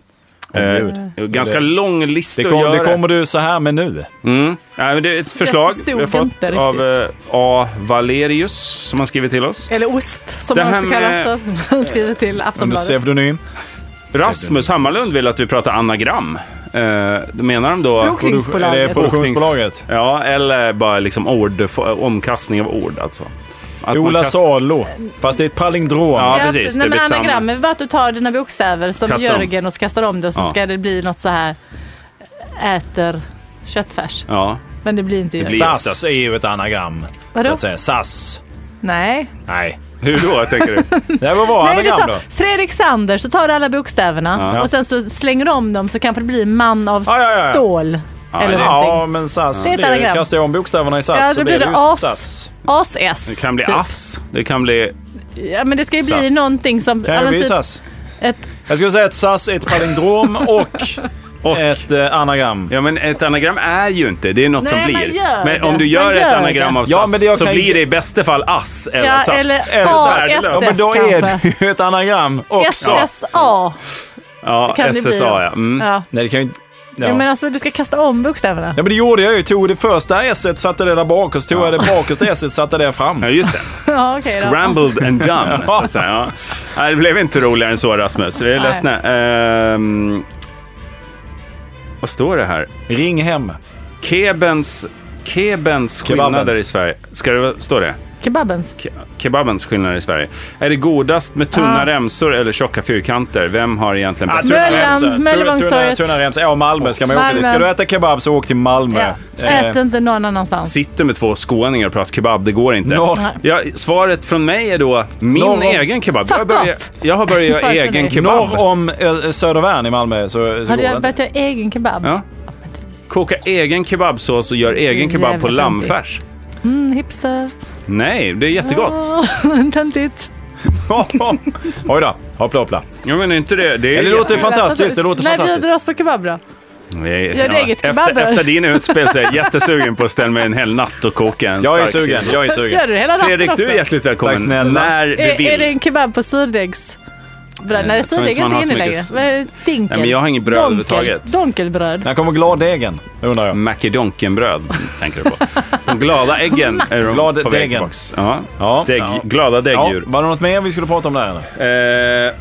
A: gud.
B: Eh, ganska lång lista
A: Det, kom,
B: att
A: det
B: göra.
A: kommer du så här med nu.
B: Mm. Ja, men det är ett förslag vi
C: förstod
B: har fått
C: inte riktigt.
B: av eh, A. Valerius som har skrivit till oss.
C: Eller ost, som
B: Det
C: han
B: här
C: också kallas. Han skriver till
A: Under
C: Aftonbladet.
A: pseudonym.
B: Rasmus Hammarlund vill att vi pratar anagram. Eh, då menar de då...
A: Är det
C: Bokningsbolaget.
A: produktionsbolaget?
B: Ja, eller bara liksom ord, f- omkastning av ord alltså. Att man
A: Ola
B: kastar-
A: Salo. Fast det är ett palindrom.
B: Ja, precis.
C: Nej,
B: Det
C: men
B: blir samma.
C: anagram är bara att du tar dina bokstäver som
B: Kastar om.
C: Jörgen och så kastar om det och så
B: Ja.
C: ska det bli något så här äter köttfärs.
B: Ja.
C: Men det blir inte Jörgen.
B: blir-
A: SAS är ju ett anagram.
C: Vadå?
A: Så att säga. SAS.
C: Nej.
A: Nej.
B: Hur då, tänker du?
A: Det var vad
C: Nej, du
A: anagram
C: tar
A: då.
C: Fredrik Sander, så tar du alla bokstäverna
B: Ja.
C: och sen så slänger du om dem så kanske det blir man av
A: Ja, ja, ja.
C: stål. eller
B: det-
A: Ja,
C: någonting.
A: men SAS.
C: Det är ett
A: blir ju-
C: anagram.
A: Kastar jag om bokstäverna i SAS
C: Ja,
A: så
C: då blir det
A: ju
C: as.
A: SAS.
C: As-S.
B: Det kan bli
C: typ.
B: ass. Det kan bli...
C: Ja, men det ska ju bli
B: SAS.
C: någonting som...
A: Kan
C: ja,
A: jag
C: men
A: bli
C: typ
A: SAS?
C: ett,
A: Jag skulle säga att SAS är ett palindrom och
B: Och.
A: ett eh, anagram.
B: Ja, men ett anagram är ju inte. Det är något
C: Nej,
B: som
C: man
B: blir.
C: gör
B: men
C: det.
B: om du gör,
C: Man
B: ett
C: gör
B: anagram
C: det.
B: av SAS
A: Ja, men det jag
B: så
A: kan-
B: blir det i bästa fall ass eller
C: ja,
B: SAS.
C: eller
A: Eller
B: värdelöst.
C: A-S-S
A: Ja, men då är
C: kanske.
A: det ju ett anagram också.
C: SSA
B: ja,
C: kan det
B: SSA,
C: bli. då.
B: ja. Mm.
C: Ja.
A: Nej, det kan ju inte... Ja.
C: Jo, men alltså du ska kasta om bokstäverna.
A: Ja men det gjorde jag ju. Tog det första s satte det där bak och så tog jag det bakersta s satte det fram.
B: Ja, just det.
C: Ja, okej då.
B: Scrambled and done. så att säga. ja. Nej, det blev inte roligare än så, Rasmus. Vi är
C: Nej.
B: ledsna. Ehm, vad står det här?
A: Ring hem.
B: Kebens, kebens
A: Kebabens.
B: skillnader i Sverige. Ska det stå det?
C: Kebabens.
B: Ke- Kebabens skillnader i Sverige. Är det godast med tunna
C: Ah.
B: remsor eller tjocka fyrkanter? Vem har egentligen
A: Alltså,
B: bäst?
C: tunna Möllan,
A: remsor. Tunna-
C: Möllevångstorget.
A: Tunna tunna remsor. Ja, Malmö ska man åka till.
C: Malmö.
A: Ska du äta kebab så åk till Malmö. Eh,
C: Ja.
B: Eh.
C: Ät inte någon annanstans.
B: Sitter med två skåningar och pratar kebab, det går inte.
A: Norr,
C: Nej.
B: Ja, svaret från mig är då min
A: Norr om-
B: egen kebab.
C: Fuck
B: Jag, börjar,
C: off.
B: jag har börjat göra
C: Svaret från
B: egen
C: dig.
B: kebab.
A: norr om eh, Södervärn i Malmö så, så
C: Har
A: går
C: du
A: det inte.
C: börjat göra egen kebab?
B: Ja. Koka egen kebabsås och gör egen kebab på
C: jävla töntigt.
B: lammfärs.
C: Mm, hipster.
B: Nej, det är jättegott.
C: Töntigt.
A: Oj då. Hoppla hoppla.
B: Jag menar inte det. Det är
A: Eller låter fantastiskt. Det låter
C: Nej,
A: fantastiskt.
C: bjuder oss på kebab då.
B: Nej,
C: Gör du eget kebab,
B: efter,
C: eller?
B: efter din utspel så är jag jättesugen på att ställa mig en hel natt och koka en
A: Jag är
B: stark
A: sugen.
B: kebab.
A: Jag är sugen.
C: Gör du det hela natten
B: Fredrik,
C: också?
B: du är hjärtligt välkommen
A: Tack snälla.
B: när du
C: Är,
B: vill. Eh,
C: är det en kebab på surdegs? Bröd? Nej,
B: jag tror
C: surdeg
B: inte
C: är
B: man
C: inte
B: har så
C: inne längre.
B: mycket-
C: Vad är det? Dinkel?
B: Nej, men jag har inget bröd
C: Donkel.
B: överhuvudtaget.
C: Donkelbröd.
A: När kommer gladdegen? Undrar jag.
B: Makedonkenbröd tänker du på. De glada äggen är de
A: Glad
B: på väg
A: degen.
B: tillbaks. Ja.
A: Ja.
B: Dägg,
A: Ja.
B: Glada
A: Ja,
B: däggdjur.
A: var det något mer vi skulle prata om där eller?
B: Eh,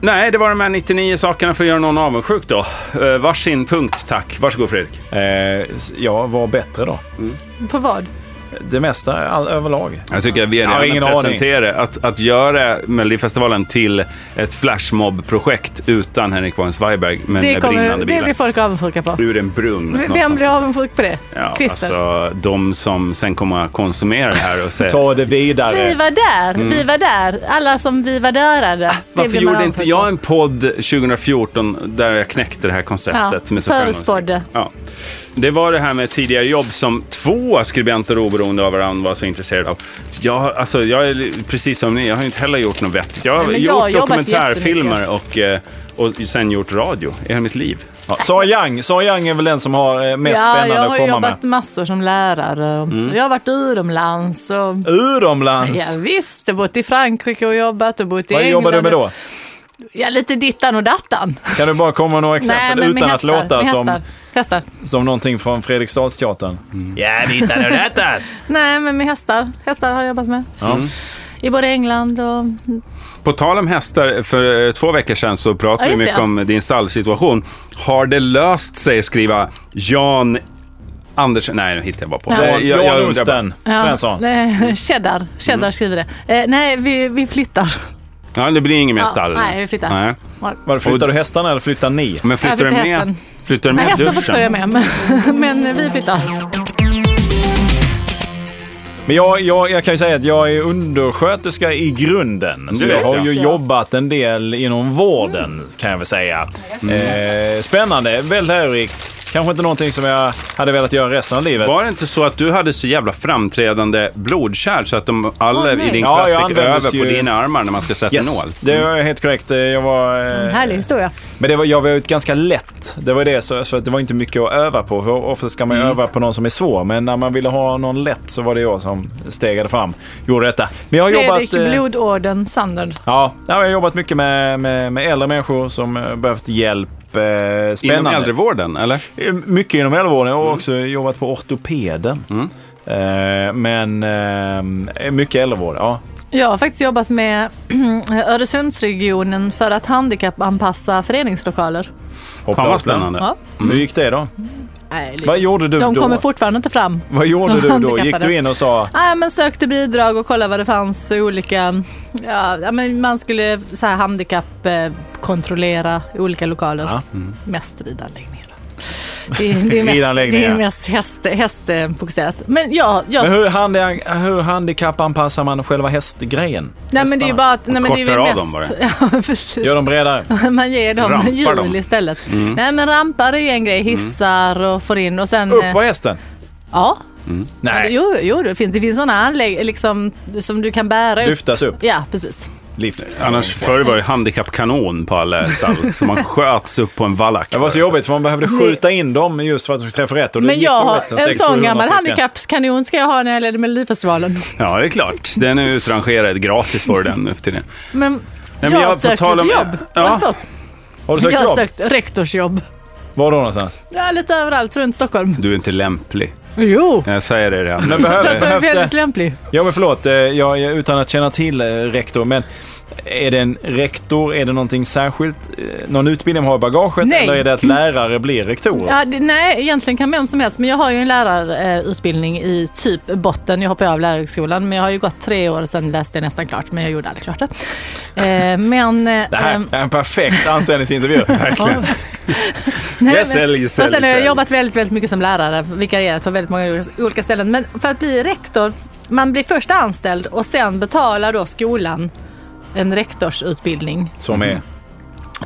B: nej, det var de här 99 sakerna för att göra någon avundsjuk då. Eh, varsin punkt, tack. Varsågod Fredrik.
A: Eh, s- ja, var bättre då.
C: På vad?
A: Det mesta all, överlag.
B: Jag tycker att vi
A: Jag har
B: redan
A: ingen
B: har
A: aning.
B: presenterat att, att göra Melodifestivalen till ett flashmob-projekt utan Henrik von Zweigbergk, men
C: Det,
B: med
C: kommer,
B: brinnande
C: det
B: bilar.
C: blir folk avundsjuka på.
B: Ur en brunn.
C: Vem
B: någonstans.
C: blir avundsjuk på det?
B: Ja,
C: Christer?
B: alltså de som sen kommer att konsumera det här och säga
A: Ta det vidare.
C: Vi var där, vi var där. Alla som vi var därade. det
B: Mm. Ah, Varför
C: blir man
B: gjorde inte
C: avundsjuk på.
B: jag en podd 2014 där jag knäckte det här konceptet?
C: Ja,
B: som är så
C: förutspådde.
B: framgångsrikt? Ja. Det var det här med tidigare jobb som två skribenter oberoende av varandra var så intresserade av. Jag, alltså, jag är precis som ni, jag har ju inte heller gjort något vettigt. Jag har
C: Nej, men jag har
B: gjort
C: jobbat
B: dokumentärfilmer och, eh, och sen gjort radio i hela mitt liv. Ja.
A: Sara Young. Sara Young är väl den som har eh, mest
C: Ja, jag
A: spännande att
C: har
A: komma med. Mm.
C: jobbat massor som lärare. och Jag har varit utomlands och
A: Utomlands.
C: Ja, visst, jag har bott i Frankrike och jobbat och bott i
A: Vad
C: England.
A: jobbar du med då?
C: Ja, lite dittan och dattan.
A: Kan du bara komma med några exempel
C: men med
A: utan att
C: hästar,
A: låta
C: med
A: som,
C: hästar. hästar.
A: som någonting från Fredriksdalsteatern? Ja, dittan och dattan.
C: Nej, men med hästar. Hästar har jag jobbat med. I både England och...
B: På tal om hästar, för eh, två veckor sedan så pratade
C: Ja,
B: vi
C: just det,
B: mycket
C: ja.
B: om din stallsituation. Har det löst sig, skriva Jan Andersson. Nej, nu hittar jag bara på. Eh,
A: Jan,
B: jag- jag
A: Jan
B: undrar bara-
A: Osten Svensson. Mm.
C: nej, cheddar. Cheddar skriver det. Eh, nej, vi, vi flyttar.
B: Ja, det blir ingen mer
C: Ja,
B: stall.
C: nej, vi flyttar.
B: Nej.
A: Var flyttar du hästarna eller flyttar ni?
B: Men flyttar
C: Ja, vi
B: du
C: tar
B: med,
C: hästen.
B: flyttar du
C: Nej,
B: med
C: hästar får följa
B: duschen?
C: med, men, men vi flyttar.
A: Men jag, jag, jag kan ju säga att jag är undersköterska i grunden. Så
B: Du
A: jag
B: vet,
A: har
B: ja.
A: ju jobbat en del inom vården kan jag väl säga.
B: Mm.
A: Eh, spännande, väldigt lärorikt. Kanske inte någonting som jag hade velat göra resten av livet.
B: Var det inte så att du hade så jävla framträdande blodkärl så att de alla
C: Åh, nej.
B: i din
A: Ja,
B: klass
A: jag
B: fick
A: användes
B: över på
A: ju-
B: dina armar när man ska sätta
A: Yes,
B: nål? Mm.
A: det var helt korrekt. Eh, Jag var, eh,
C: Härlig historia.
A: Men det var, jag var ju ett ganska lätt. Det var det, så, så att det var inte mycket att öva på. För ofta ska
B: Mm.
A: man ju öva på någon som är svår. Men när man ville ha någon lätt så var det jag som stegade fram. Gjorde detta. Men jag har
C: Fredrik
A: jobbat... eh,
C: Blodorden Sandard.
A: Ja, jag har jobbat mycket med, med, med äldre människor som eh, behövt hjälp upp eh, spännande. Eh,
B: Inom äldrevården, eller?
A: Mycket inom äldrevården. Jag har också jobbat på ortopeden.
B: Mm.
A: Eh, men eh, mycket äldrevård, ja.
C: Jag har faktiskt jobbat med Öresundsregionen för att handikappanpassa föreningslokaler.
B: Fan vad
A: Hoppla,
B: spännande. Mm.
C: Ja.
A: Hur gick det då?
C: Nej,
A: Vad gjorde du
C: de
A: då?
C: kommer fortfarande inte fram.
A: Vad gjorde du då? Gick
C: handikappade.
A: du in och sa
C: Nej, men sökte bidrag och kollade vad det fanns för olika, ja, ja, men man skulle så här handikapp eh, kontrollera olika lokaler.
A: Ja.
C: Mest ridanläggningar. då. Det, är- det är mest, det
A: Ridanläggningar.
C: är mest häst, hästfokuserat. Men ja, jag,
A: men hur, handi hur handikappanpassar man själva hästgrejen?
C: nej men det är ju bara att, nej men det är
B: kortar
C: ju
B: av
C: mest.
B: dem bara.
C: Ja, precis.
A: Gör dem bredare.
C: Man ger dem
B: Rampar dem.
C: hjul istället. Nej men rampar är ju en grej, hissar och får in och sen... eh,
A: Upp på hästen?
C: Ja,
A: Nej,
C: jo, jo det finns, det finns sådana anlägg liksom, som du kan bära ut.
A: lyftas upp.
C: Ja, precis.
A: Lift.
B: Annars förr var det handikappkanon på alla stall, så man sköts upp på en vallack.
A: Det var så jobbigt för man behövde skjuta in dem just för att de skulle träffa rätt. Och då
C: Men
A: gick
C: jag
A: de
C: har
A: rätt
C: en
A: sex,
C: sån
A: 700
C: gammal
A: stycken.
C: handikappskanon ska jag ha när jag leder Melodifestivalen.
B: Ja, det är klart. Den är utrangerad. Gratis får du den nu för tiden.
C: Men,
B: men
C: jag,
B: jag- på
C: sökte
B: tal om-
C: ett jobb.
B: Ja.
C: Har du fått?
A: Har du
C: Jag
A: sökt
C: har
A: jobb?
C: sökt rektorsjobb.
A: Var då någonstans?
C: Ja, lite överallt runt Stockholm.
B: Du är inte lämplig.
C: Jo,
B: Jag säger det redan.
A: Men behöver-
C: jag är
A: behövs det?
C: väldigt lämplig.
A: Ja men förlåt, eh, jag, jag- utan att känna till eh, rektor, men är det en rektor, är det någonting särskilt, eh, någon utbildning man har i bagaget?
C: Nej.
A: Eller är det att lärare blir rektorer?
C: Ja, det, nej, egentligen kan vem som helst. Men jag har ju en lärarutbildning i typ botten. Jag hoppade av lärarhögskolan, men jag har ju gått tre år och sen läste jag nästan klart. Men jag gjorde aldrig klart det. Eh, men... eh,
A: Det här
C: ehm,
A: är en perfekt anställningsintervju. Verkligen.
C: Nej,
A: Yes, sälj,
C: men,
A: sälj,
C: och sen har jag
A: sälj.
C: jobbat väldigt, väldigt mycket som lärare, vikarierat på väldigt många olika ställen. Men för att bli rektor, man blir först anställd och sen betalar då skolan en rektorsutbildning,
A: Som är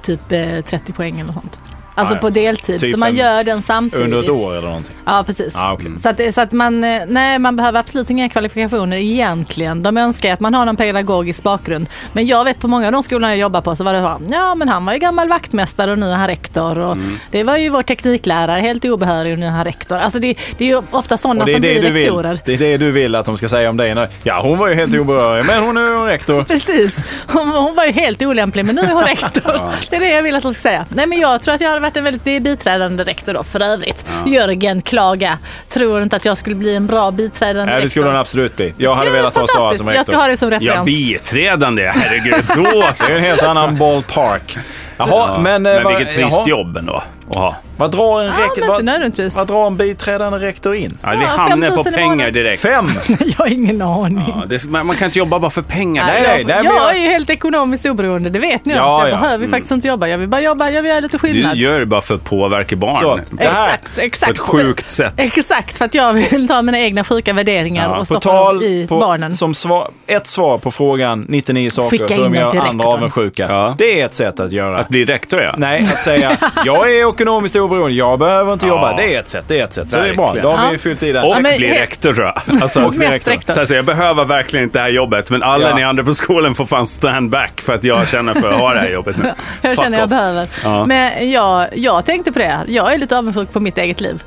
C: typ eh, 30 poäng eller sånt. Alltså
A: Ah, ja.
C: på deltid,
A: Typ
C: så man
A: en-
C: gör den samtidigt.
A: under ett år eller någonting.
C: Ja, precis.
A: Ah, okej.
C: Så, att, det- så att man, eh, nej, man behöver absolut inga kvalifikationer egentligen. De önskar ju att man har någon pedagogisk bakgrund. Men jag vet på många av de skolorna jag jobbar på så var det bara, ja men han var ju gammal vaktmästare och nu är han rektor. Och
A: Mm.
C: Det var ju vår tekniklärare, helt obehörig och nu är han rektor. Alltså det, det är ju ofta sådana
A: Och det är
C: som
A: det,
C: blir
A: du vill,
C: rektorer.
A: det är det du vill att de ska säga om dig. när- Ja, hon var ju helt oberörig, men hon är ju rektor.
C: Precis, hon, hon var ju helt olämplig men nu är hon rektor. Det är det jag vill att hon ska säga. Nej men jag tror att jag har varit en väldigt det är biträdande rektor då för övrigt. Jörgen Klaga tror inte att jag skulle bli en bra biträdande
A: Nej, det skulle
C: rektor.
A: hon absolut bli. Jag hade
C: Ja,
A: velat ha Sara
C: fantastiskt.
A: som
C: Jag ska ha
A: rektor.
C: det som
B: Ja,
C: referens.
B: biträdande. Herregud, då så.
A: Det är en helt annan ballpark. Jaha, men... eh,
B: Men
A: vad-
B: vilket trist
A: jaha,
B: jobb ändå att ha.
A: Vad drar en,
C: Ja,
A: rek-
C: men inte
A: vad,
C: nödvändigtvis.
A: vad drar en biträdande rektor in?
B: Ja, vi
C: Ja,
B: hamnar
C: 5 000
B: på
C: i
B: pengar
C: månaden.
B: direkt.
A: Fem?
C: Jag har ingen aning.
B: Ja, det, man man kan inte jobba bara för pengar.
A: Nej, nej, nej, men
C: jag,
A: jag-
C: är ju helt ekonomiskt oberoende, det vet ni om.
A: Ja,
C: så
A: ja.
C: jag
A: Mm.
C: behöver ju faktiskt inte jobba. Jag vill bara jobba, jag vill göra lite
B: Du
C: skillnad.
B: gör det bara för att påverka barn.
A: Så,
B: På
A: det här-
C: Exakt, exakt.
B: ett sjukt sätt.
C: Exakt, för att jag vill ta mina egna sjuka värderingar
B: Ja, på
C: och
A: På
C: stoppa dem
A: tal,
C: i
A: på,
C: barnen.
A: som svar, ett svar på frågan 99
C: Skicka
A: saker
C: in
A: de
C: dem
A: gör
C: till
A: andra
C: rektorn.
A: avundsjuka.
B: Ja.
A: Det är ett sätt att göra.
B: Att bli rektor, ja.
A: Nej, att säga jag är ekonomiskt oberoende, jag behöver inte
B: Ja.
A: jobba. Det är ett sätt. Det är ett sätt. Så det är bra.
B: Verkligen.
A: Då har vi
C: Ja.
A: fyllt i det.
B: Och
C: Ja, men
B: bli
C: helt-
B: rektor, tror jag. Alltså,
C: Och mest rektor.
B: Så här, så jag behöver verkligen inte det här jobbet, men alla
A: Ja.
B: ni andra på skolan får fan stand back för att jag känner för att ha det här jobbet nu.
C: Jag
B: Fuck
C: känner jag
B: off.
C: behöver.
B: Ja.
C: Men jag, jag tänkte på det, jag är lite avundsjuk på mitt eget liv.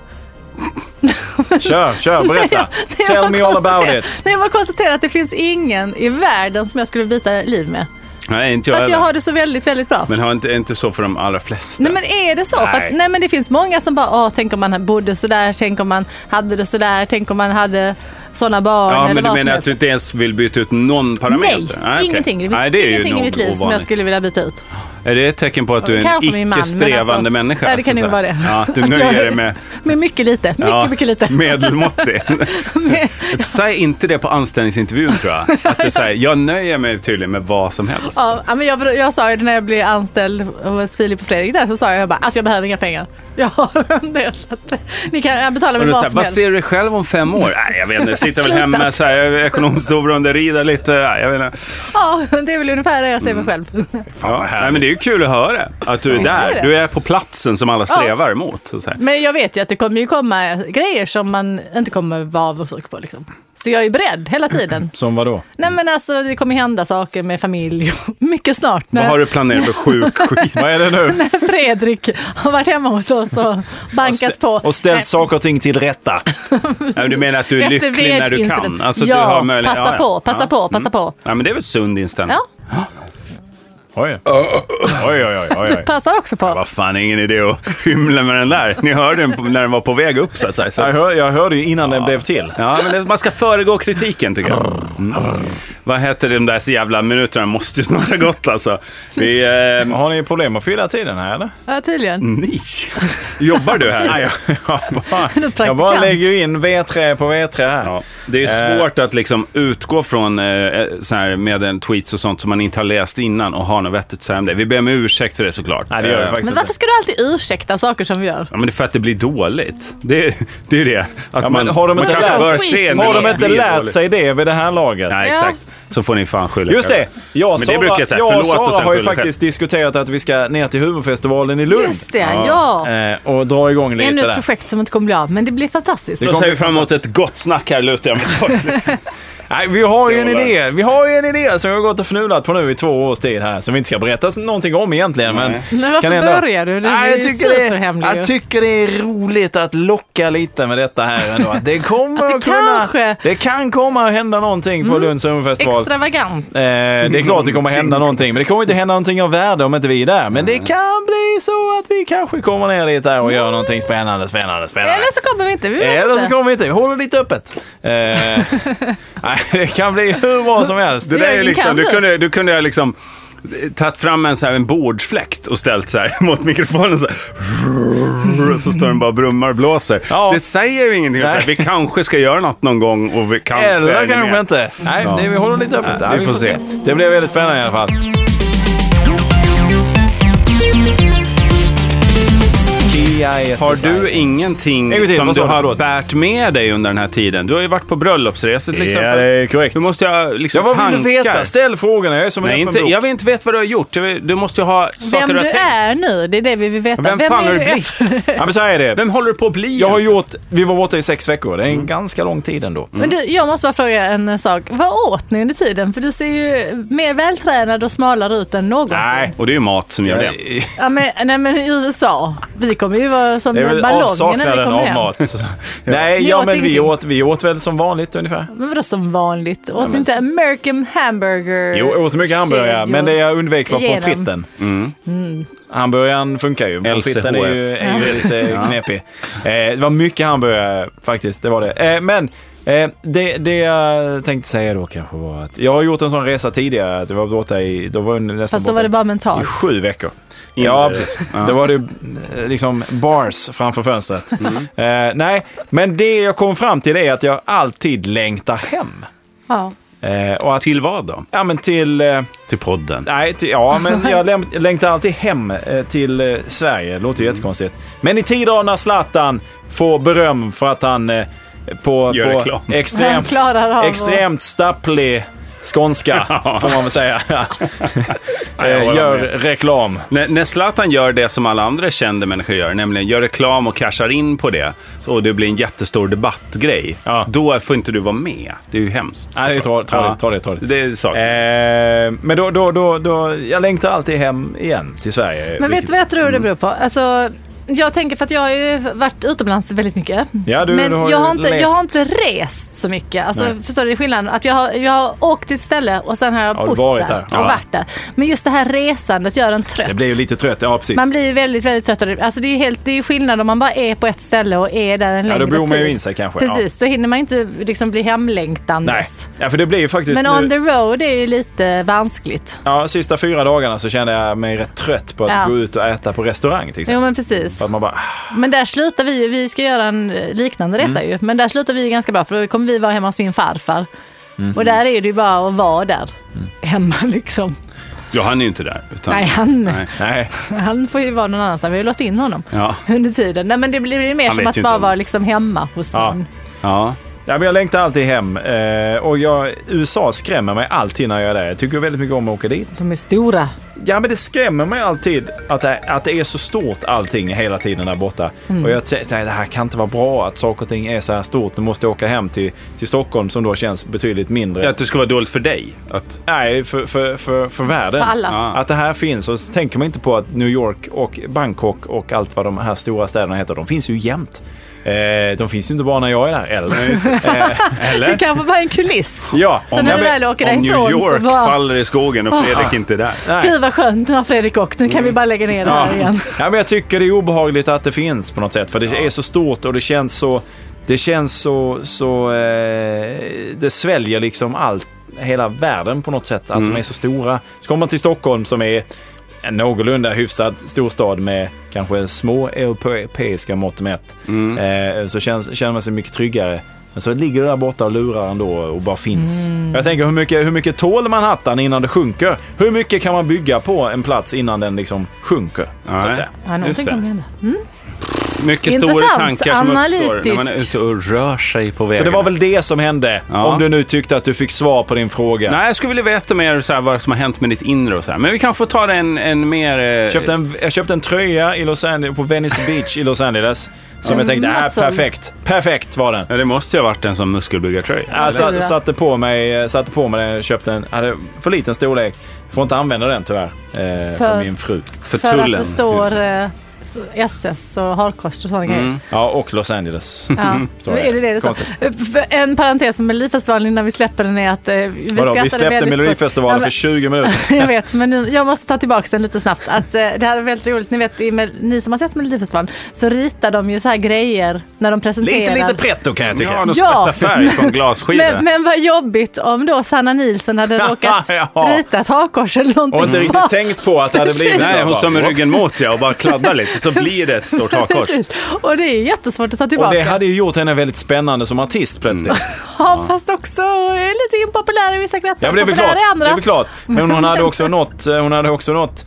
A: Kör, kör, berätta.
C: Det
A: Tell
C: var
A: me all about
C: konstaterat-
A: it.
C: Nej, jag bara konstaterar att det finns ingen i världen som jag skulle byta liv med.
B: Nej, inte
C: För
B: jag,
C: att
B: heller.
C: jag har det så väldigt, väldigt bra.
B: Men har inte, är inte så för de allra flesta.
C: Nej men är det så? Nej. För
B: Nej.
C: att, nej men det finns många som bara, åh tänk om man bodde sådär, tänk om man hade det sådär, tänk om man hade sådana barn
B: ja,
C: eller
B: men du
C: vad som
B: menar att
C: helst.
B: du inte ens vill byta ut någon
C: Nej,
B: parameter? Ah, okej.
C: ingenting. Det finns
B: Nej, det är ju
C: ingenting i
B: nog
C: mitt liv som jag
B: ovanligt.
C: skulle vilja byta ut.
B: Är det ett tecken på att du är en
C: Kanske min man, men
B: icke-strävande
C: alltså-
B: människa?
C: Nej, det
B: Alltså,
C: kan ju
B: så här.
C: vara det.
B: Ja, att du
C: Att jag
B: nöjer
C: är-
B: dig med
C: Men mycket lite, mycket,
B: ja,
C: mycket lite.
B: medelmåttig.
C: Med-
B: Säg inte det på anställningsintervjun tror jag. Att det är så här, jag nöjer mig tydligen med vad som helst.
C: Ja, men jag, jag sa ju det när jag blev anställd hos Filip och Fredrik där så sa jag, jag bara, alltså jag behöver inga pengar. Jag har det. Så att, ni kan betala
B: Och då
C: mig vad
B: så här,
C: som
B: vad
C: helst.
B: ser du dig själv om fem år? Nej, jag vet inte. Jag sitter väl hemma så här, jag är ekonomiskt oberoende, rider lite. Nej, jag vet inte.
C: Ja, det är väl ungefär det jag ser mig
B: Mm.
C: själv.
B: Ja, nej, men det är ju kul att höra att du är
C: det är
B: där.
C: det.
B: Du är på platsen som alla strävar mot. Så att säga.
C: Men jag vet ju att det kommer ju komma grejer som man inte kommer vara avundsjuk på. Liksom. Så jag är beredd hela tiden.
A: Som vadå?
C: Nej men alltså det kommer hända saker med familj och mycket snart.
B: Vad har
C: När
B: du planerat för sjuk skit?
A: Vad är det nu?
C: Fredrik har varit hemma hos oss och bankat på.
A: Och ställt
C: Nej,
A: saker och ting till rätta.
B: Nej, du menar att du är
C: efter
B: lycklig när du
C: vedincident.
B: kan? Alltså,
C: ja,
B: du har möjlighet-
C: passa
B: ja, ja.
C: på, passa
B: Ja.
C: på, passa på.
B: Ja, men det är väl sund inställning?
C: Ja.
A: Oj. Oj, oj, oj. oj, oj.
C: Passar också på.
B: Vad fan, ingen idé att hymla med den där. Ni hörde den på- när den var på väg upp så att säga.
A: Jag,
B: Så.
A: hör, jag hörde ju innan den blev till.
B: Ja, men det- man ska föregå kritiken tycker jag. Mm. Vad heter de där så jävla minuterna? Måste ju snart ha gått alltså. Vi, eh,
A: Har ni problem att fylla tiden här eller?
C: Ja, tydligen.
A: Mm.
B: ni. Jobbar du här?
A: jag, bara,
C: praktikant.
A: jag bara lägger ju in V3 på V3 här.
B: Ja, det
A: Eh.
B: är svårt att liksom utgå från eh, så här med en tweets och sånt som man inte har läst innan och ha något vettigt att säga om det. Vi ber om ursäkt för det såklart.
A: Nej, det gör vi
B: Eh,
A: faktiskt
C: Men
A: inte.
C: varför ska du alltid ursäkta saker som vi gör?
B: Ja, men det är för att det blir dåligt. Det, är- det är det. Att
A: men
B: man,
A: har de
B: man
A: inte
B: kanske
A: lärt-
B: bör
C: skit.
B: se när
A: Har de
B: något
A: inte
B: blir
A: lärt
B: dåligt.
A: sig det vid det här laget?
B: Nej,
C: Ja.
B: exakt. Så får ni fan skylla
A: Just
B: er
A: det! Jag och
B: Men det
A: Sara,
B: brukar jag säga.
A: jag och
B: Förlåt och
A: Sara
B: sen
A: har ju
B: skyll dig
A: faktiskt diskuterat att vi ska ner till humorfestivalen i Lund.
C: Just det, ja.
A: Eh, och dra igång
C: Ännu
A: lite
C: ett
A: där.
C: projekt som inte kommer bli av, men det blir fantastiskt.
B: Då ser vi fram emot ett gott snack här lutar jag mig tillbaks lite.
A: Nej, vi har ju en
B: Strålar.
A: idé. Vi har ju en idé som vi har gått och fnulat på nu i två års tid här. Som vi inte ska berätta någonting om egentligen. Men,
B: Nej.
C: Men varför
A: kan ändå-
C: börjar du? Det
A: Nej,
C: är
A: jag,
C: ju
A: tycker det,
C: superhemlig ju.
A: jag tycker det är roligt att locka lite med detta här ändå. Att det kommer
C: Att det
A: att kunna...
C: kanske- Mm.
A: Det kan komma att hända någonting på Lunds humorfestival.
C: Extravagant.
A: Eh, det är klart det kommer hända någonting, men det kommer inte hända någonting av värde om inte vi är där. Men det kan bli så att vi kanske kommer ner dit där och gör någonting spännande, spännande, spännande.
C: Eller så kommer vi inte. Vi vet
A: Eller så
C: inte.
A: kommer vi inte. Vi håller lite öppet. Eh, nej, det kan bli hur bra som helst.
B: Det där är
C: Jörgen,
B: liksom,
C: kan
B: du
C: du?
B: kunde, du kunde ha liksom eh, tagit fram en, så här, en bordsfläkt och ställt så här mot mikrofonen så här, och så står den bara och brummar och blåser.
A: Ja.
B: Det säger ju ingenting. om Så här,
A: Nej.
B: vi kanske ska göra något någon gång och vi kanske... är
A: Eller
B: det
A: kanske
B: mer.
A: inte. Nej, det, vi håller lite öppet.
B: Ja,
A: Ja, vi får se. Det blir väldigt spännande i alla fall.
B: Har du ingenting
A: En gång till,
B: som
A: vad
B: du
A: sa du?
B: har
A: Förlåt.
B: bärt med dig under den här tiden? Du har ju varit på bröllopsresor till
A: Ja,
B: exempel.
A: det är korrekt.
B: Du måste ju ha liksom,
A: Ja, vad vill du
B: tankar.
A: veta? Ställ frågorna. Jag är som en
B: Nej,
A: öppen
B: inte,
A: bok.
B: jag vill inte veta vad du har gjort. Jag vill- Du måste ju ha saker
C: Vem
B: du har
C: du
B: tänkt.
C: är nu, det är det vi vill veta.
B: Vem, fan
C: är
B: har du blivit?
A: Ja, men så här är det.
B: Vem håller du på att bli?
A: Jag har gjort, vi var borta i sex veckor. Det är en ganska lång tid ändå.
C: Men du, jag måste bara fråga en eh, sak. Vad åt ni under tiden? För du ser ju mer vältränad och smalare ut än någonsin.
A: Nej.
B: Och det är ju mat som gör det.
C: Ja, men, nej men i USA. Vi kommer ju vara som
A: Det är väl
C: ballongen när vi
A: avsaknaden
C: kommer
A: av
C: hem.
A: mat. Nej,
C: Ni
A: ja,
C: åt
A: men vi
C: ingenting.
A: åt, vi åt väl som vanligt ungefär.
C: Men vadå som vanligt? Åt
A: men-
C: ni inte American hamburger?
A: Jo, jag åt mycket hamburgare,
C: kedjor?
A: men det jag undvek var
C: Igenom.
A: pommes fritesen.
C: Mm.
A: Hamburgaren funkar ju, pommes fritesen är ju, är ju lite knepig. Eh, det var mycket hamburgare faktiskt, det var det. Eh, men eh, det, det jag tänkte säga då kanske var att jag har gjort en sån resa tidigare. Att jag var borta i, då var jag nästan
C: Fast då
A: borta
C: var det bara
A: i
C: mentalt.
A: sju veckor.
B: Ja,
A: Ja,
B: precis.
A: precis. Då var det eh, liksom bars framför fönstret. Eh, nej, men det jag kom fram till är att jag alltid längtar hem.
C: Ja.
A: Eh, och att,
B: Till vad då?
A: ja men till... Eh,
B: Till podden.
A: Nej, till, ja, men jag läm- längtar alltid hem eh, till eh, Sverige. Det låter
C: Mm.
A: ju jättekonstigt. Men i tider när Zlatan får beröm för att han eh, på,
B: Gör
A: på
B: reklam.
C: Han
A: extremt,
C: klarar av att-
A: extremt stapplig skånska, får man väl säga, eh,
B: jag håller
A: gör
B: med.
A: reklam.
B: När, när Zlatan gör det som alla andra kända människor gör, nämligen gör reklam och cashar in på det, och det blir en jättestor debattgrej,
A: Ja.
B: då får inte du vara med. Det är ju hemskt.
A: Nej, det är tra- tradigt, tradigt, tradigt.
B: Det är saker.
A: Eh, men då, då, då, då, jag längtar alltid hem igen till Sverige.
C: Men vet
A: vilket- Mm.
C: du vad jag tror det beror på? Alltså, jag tänker för att jag har ju varit utomlands väldigt mycket.
A: Ja, du-
C: men
A: du har
C: jag,
A: ju
C: har inte,
A: levt.
C: jag har inte rest så mycket. Alltså,
A: Nej.
C: förstår du skillnaden? Att jag, har, jag har åkt till ett ställe och sen har jag
A: Ja, du
C: bott
A: varit
C: där
A: där.
C: och
A: Ja.
C: varit där. Men just det här resandet gör en trött.
A: Jag blir ju lite trött, ja precis.
C: Man blir ju väldigt, väldigt trött. av det. Alltså det är ju helt, det är ju skillnad om man bara är på ett ställe och är där en
A: ja,
C: längre
A: då
C: tid.
A: bor man ju in sig kanske.
C: Precis, då hinner man ju inte liksom bli
A: Ja. Nej,
C: hemlängtandes.
A: ja, för det blir ju faktiskt
C: Men
A: nu-
C: on the road är ju lite vanskligt.
A: Ja, sista fyra dagarna så kände jag mig rätt trött på att
C: Ja.
A: gå ut och äta på restaurang till exempel.
C: Jo men precis.
A: För att man bara,
C: Men där slutar vi, ju- vi ska göra en liknande resa
B: Mm.
C: ju, men där slutar vi ju ganska bra för då kommer vi vara hemma hos min farfar.
B: Mhm.
C: Och där är det ju bara att vara där. Hemma liksom.
B: Mm. ja, han är ju inte där. Utan,
C: Nej, han-
B: Nej.
A: nej.
C: Han får ju vara någon annanstans, vi har ju låst in honom
B: Ja,
C: under tiden. Nej men det blir ju mer
B: Han
C: som
B: vet
C: att
B: ju
C: bara
B: inte.
C: vara liksom hemma hos
A: Ja.
C: någon.
B: ja.
A: Ja, men jag längtar alltid hem eh, och jag, USA skrämmer mig alltid när jag är där. Jag tycker väldigt mycket om att åka dit.
C: De är stora.
A: Ja, men det skrämmer mig alltid att det, att det är så stort allting hela tiden där borta.
C: Mm.
A: Och jag tänkte, nej, det här kan inte vara bra att saker och ting är så här stort. Nu måste jag åka hem till, till Stockholm som då känns betydligt mindre.
B: Ja, Att det ska vara dåligt för dig. Att,
A: Nej, för, för, för, för världen.
C: För alla.
B: Ja.
A: Att det här finns. Och så tänker man inte på att New York och Bangkok och allt vad de här stora städerna heter, de finns ju jämt. Eh, de finns ju inte bara när jag är där, eller?
C: Det
B: Eller?
C: kanske bara är en kuliss.
A: Ja,
C: Sen när
A: jag
C: vi
A: vet-
C: väl åker
B: Om
C: därifrån
B: New York
C: så bara...
B: faller i skogen och Fredrik inte är där.
A: nej.
C: Gud vad skönt, nu har Fredrik åkt. Nu
B: Mm.
C: kan vi bara lägga ner det här igen.
A: Ja, men jag tycker det är obehagligt att det finns på något sätt. För det är så stort och det känns så... Det känns så... så eh, det sväljer liksom allt, hela världen på något sätt. Att
C: Mm.
A: de är så stora. Så kommer man till Stockholm som är en någorlunda hyfsad storstad med kanske små europeiska mått mätt.
B: Mm.
A: Eh, så känns, känner man sig mycket tryggare. Men så ligger det där borta och lurar ändå och bara finns. Jag tänker hur mycket, hur mycket tål man hattan innan det sjunker? Hur mycket kan man bygga på en plats innan den liksom sjunker? Så
B: Nej.
A: att säga.
C: Ja, någonting
B: Just det.
C: kommer hända.
B: Mycket stora
C: Intressant,
B: tankar som uppstår när man är
C: analytisk.
B: ute och rör sig på vägen.
A: Så det var väl det som hände?
B: Ja.
A: Om du nu tyckte att du fick svar på din fråga.
B: Nej, jag skulle vilja veta mer så här, vad som har hänt med ditt inre och så här. Men vi kan få ta det en, en mer... eh,
A: Jag köpte en, jag köpte en tröja i Los Angeles, på Venice Beach i Los Angeles. Som jag tänkte, äh,
C: muscle.
A: perfekt. Perfekt var den.
B: Ja, det måste ju ha varit en sån muskelbyggartröja.
A: Jag
C: Eller?
A: satt, satte på mig, satte på mig den, köpte en, hade för liten storlek. Får inte använda den tyvärr. Eh, för...
C: För-
A: min fru.
B: För,
C: För att
B: tullen.
C: det står eh, SS och harkors och sådana
B: Mm.
C: grejer.
A: Ja, och Los Angeles.
C: Ja. Mm,
A: Står
C: Är det det det står?
A: Mm, Konstigt.
C: För En parentes med Melodifestivalen innan vi släpper den är att eh, vi
A: Vadå, vi
C: skrattade
A: släppte
C: väldigt kort.
A: Melodifestivalen
C: Ja, men-
A: för 20 minuter.
C: jag vet, men nu, jag måste ta tillbaka den lite snabbt. Att, eh, det här är väldigt roligt. Ni vet, i Mel- ni som har sett Melodifestivalen så ritar de ju så här grejer när de presenterar.
A: Lite, lite pretto kan jag tycka.
B: Ja, de
C: Ja.
B: sprättar färg från glasskivor.
C: men, men vad jobbigt om då Sanna Nilsson hade råkat
A: Ja.
C: rita ett hakkors eller någonting.
A: Och inte
C: Bara-
A: riktigt tänkt på att det hade blivit
B: Nej, hon
A: så.
B: står med ryggen mot ja och bara kladdar lite så blir det ett stort hakkors.
C: Precis. Och det är jättesvårt att ta
A: Och
C: tillbaka. Mm.
A: det hade ju gjort henne väldigt spännande som artist plötsligt.
C: Ja, fast också är lite impopulär i vissa kretsar.
A: Ja, men det är väl
C: populär
A: klart.
C: i andra.
A: Det är väl klart. Men hon hade också nått, eh, hon hade också nått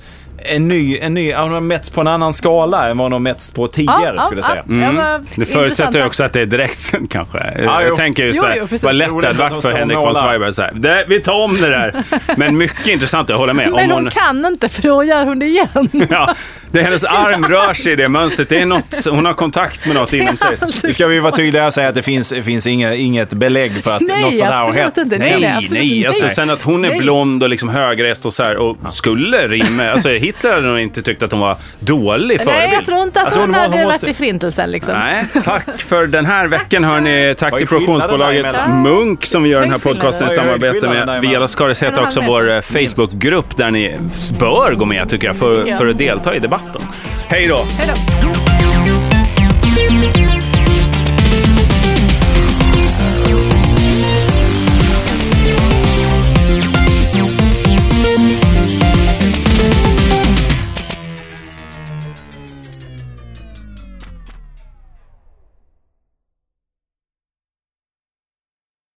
A: en ny, en ny, hon har mätts på en annan skala än vad hon har mätts på tidigare skulle jag säga. Mm.
C: ja, men
B: Det
C: intressant
B: förutsätter ju
C: att-
B: också att det är direktsänt kanske.
A: jo.
B: jag tänker ju
C: Jo,
B: såhär,
C: jo, precis.
B: vad lätt
A: Jo, det
B: det
A: är
B: hade
A: att de
B: varit för
A: ska
B: Henrik von
A: måla.
B: Zweigbergk såhär, "Det- vi tar om det där. Men mycket intressant, jag håller med.
C: Men hon kan inte för då gör hon det igen.
B: Ja, det, hennes arm rör sig i det mönstret. Det är något, hon har kontakt med något inom sig.
A: Nu ska vi vara tydliga och säga att det finns, det finns inget, inget belägg för att
C: Nej,
A: något sånt här har
C: absolut
A: hänt.
C: inte. Nej,
B: Nej,
C: nej,
B: nej,
C: absolut inte.
B: Alltså, sen att hon är
C: Nej.
B: blond och liksom högrest och så här och skulle rimma. Alltså, Hitler hade nog inte tyckt att hon var dålig
C: Nej, jag
B: förebild.
C: tror inte att
A: Alltså,
C: hon,
A: hon må-
C: hade
A: hon
C: varit
A: måste-
C: i förintelsen liksom.
B: Nej, tack för den här veckan hörni. Tack
A: Vad
B: till
A: är skillnaden
B: produktionsbolaget
A: däremellan?
B: Munk som vi gör den här
C: Vad är
B: podcasten i
A: skillnaden?
B: samarbete
A: Vad är
B: med.
A: skillnaden
B: Vi gillar Skaris
C: En och
B: heter
C: en
B: också
C: halv
B: vår eh,
C: meter.
B: Facebookgrupp där ni bör gå med tycker jag för,
C: jag.
B: för att delta i debatten. Hej då!
C: Eller-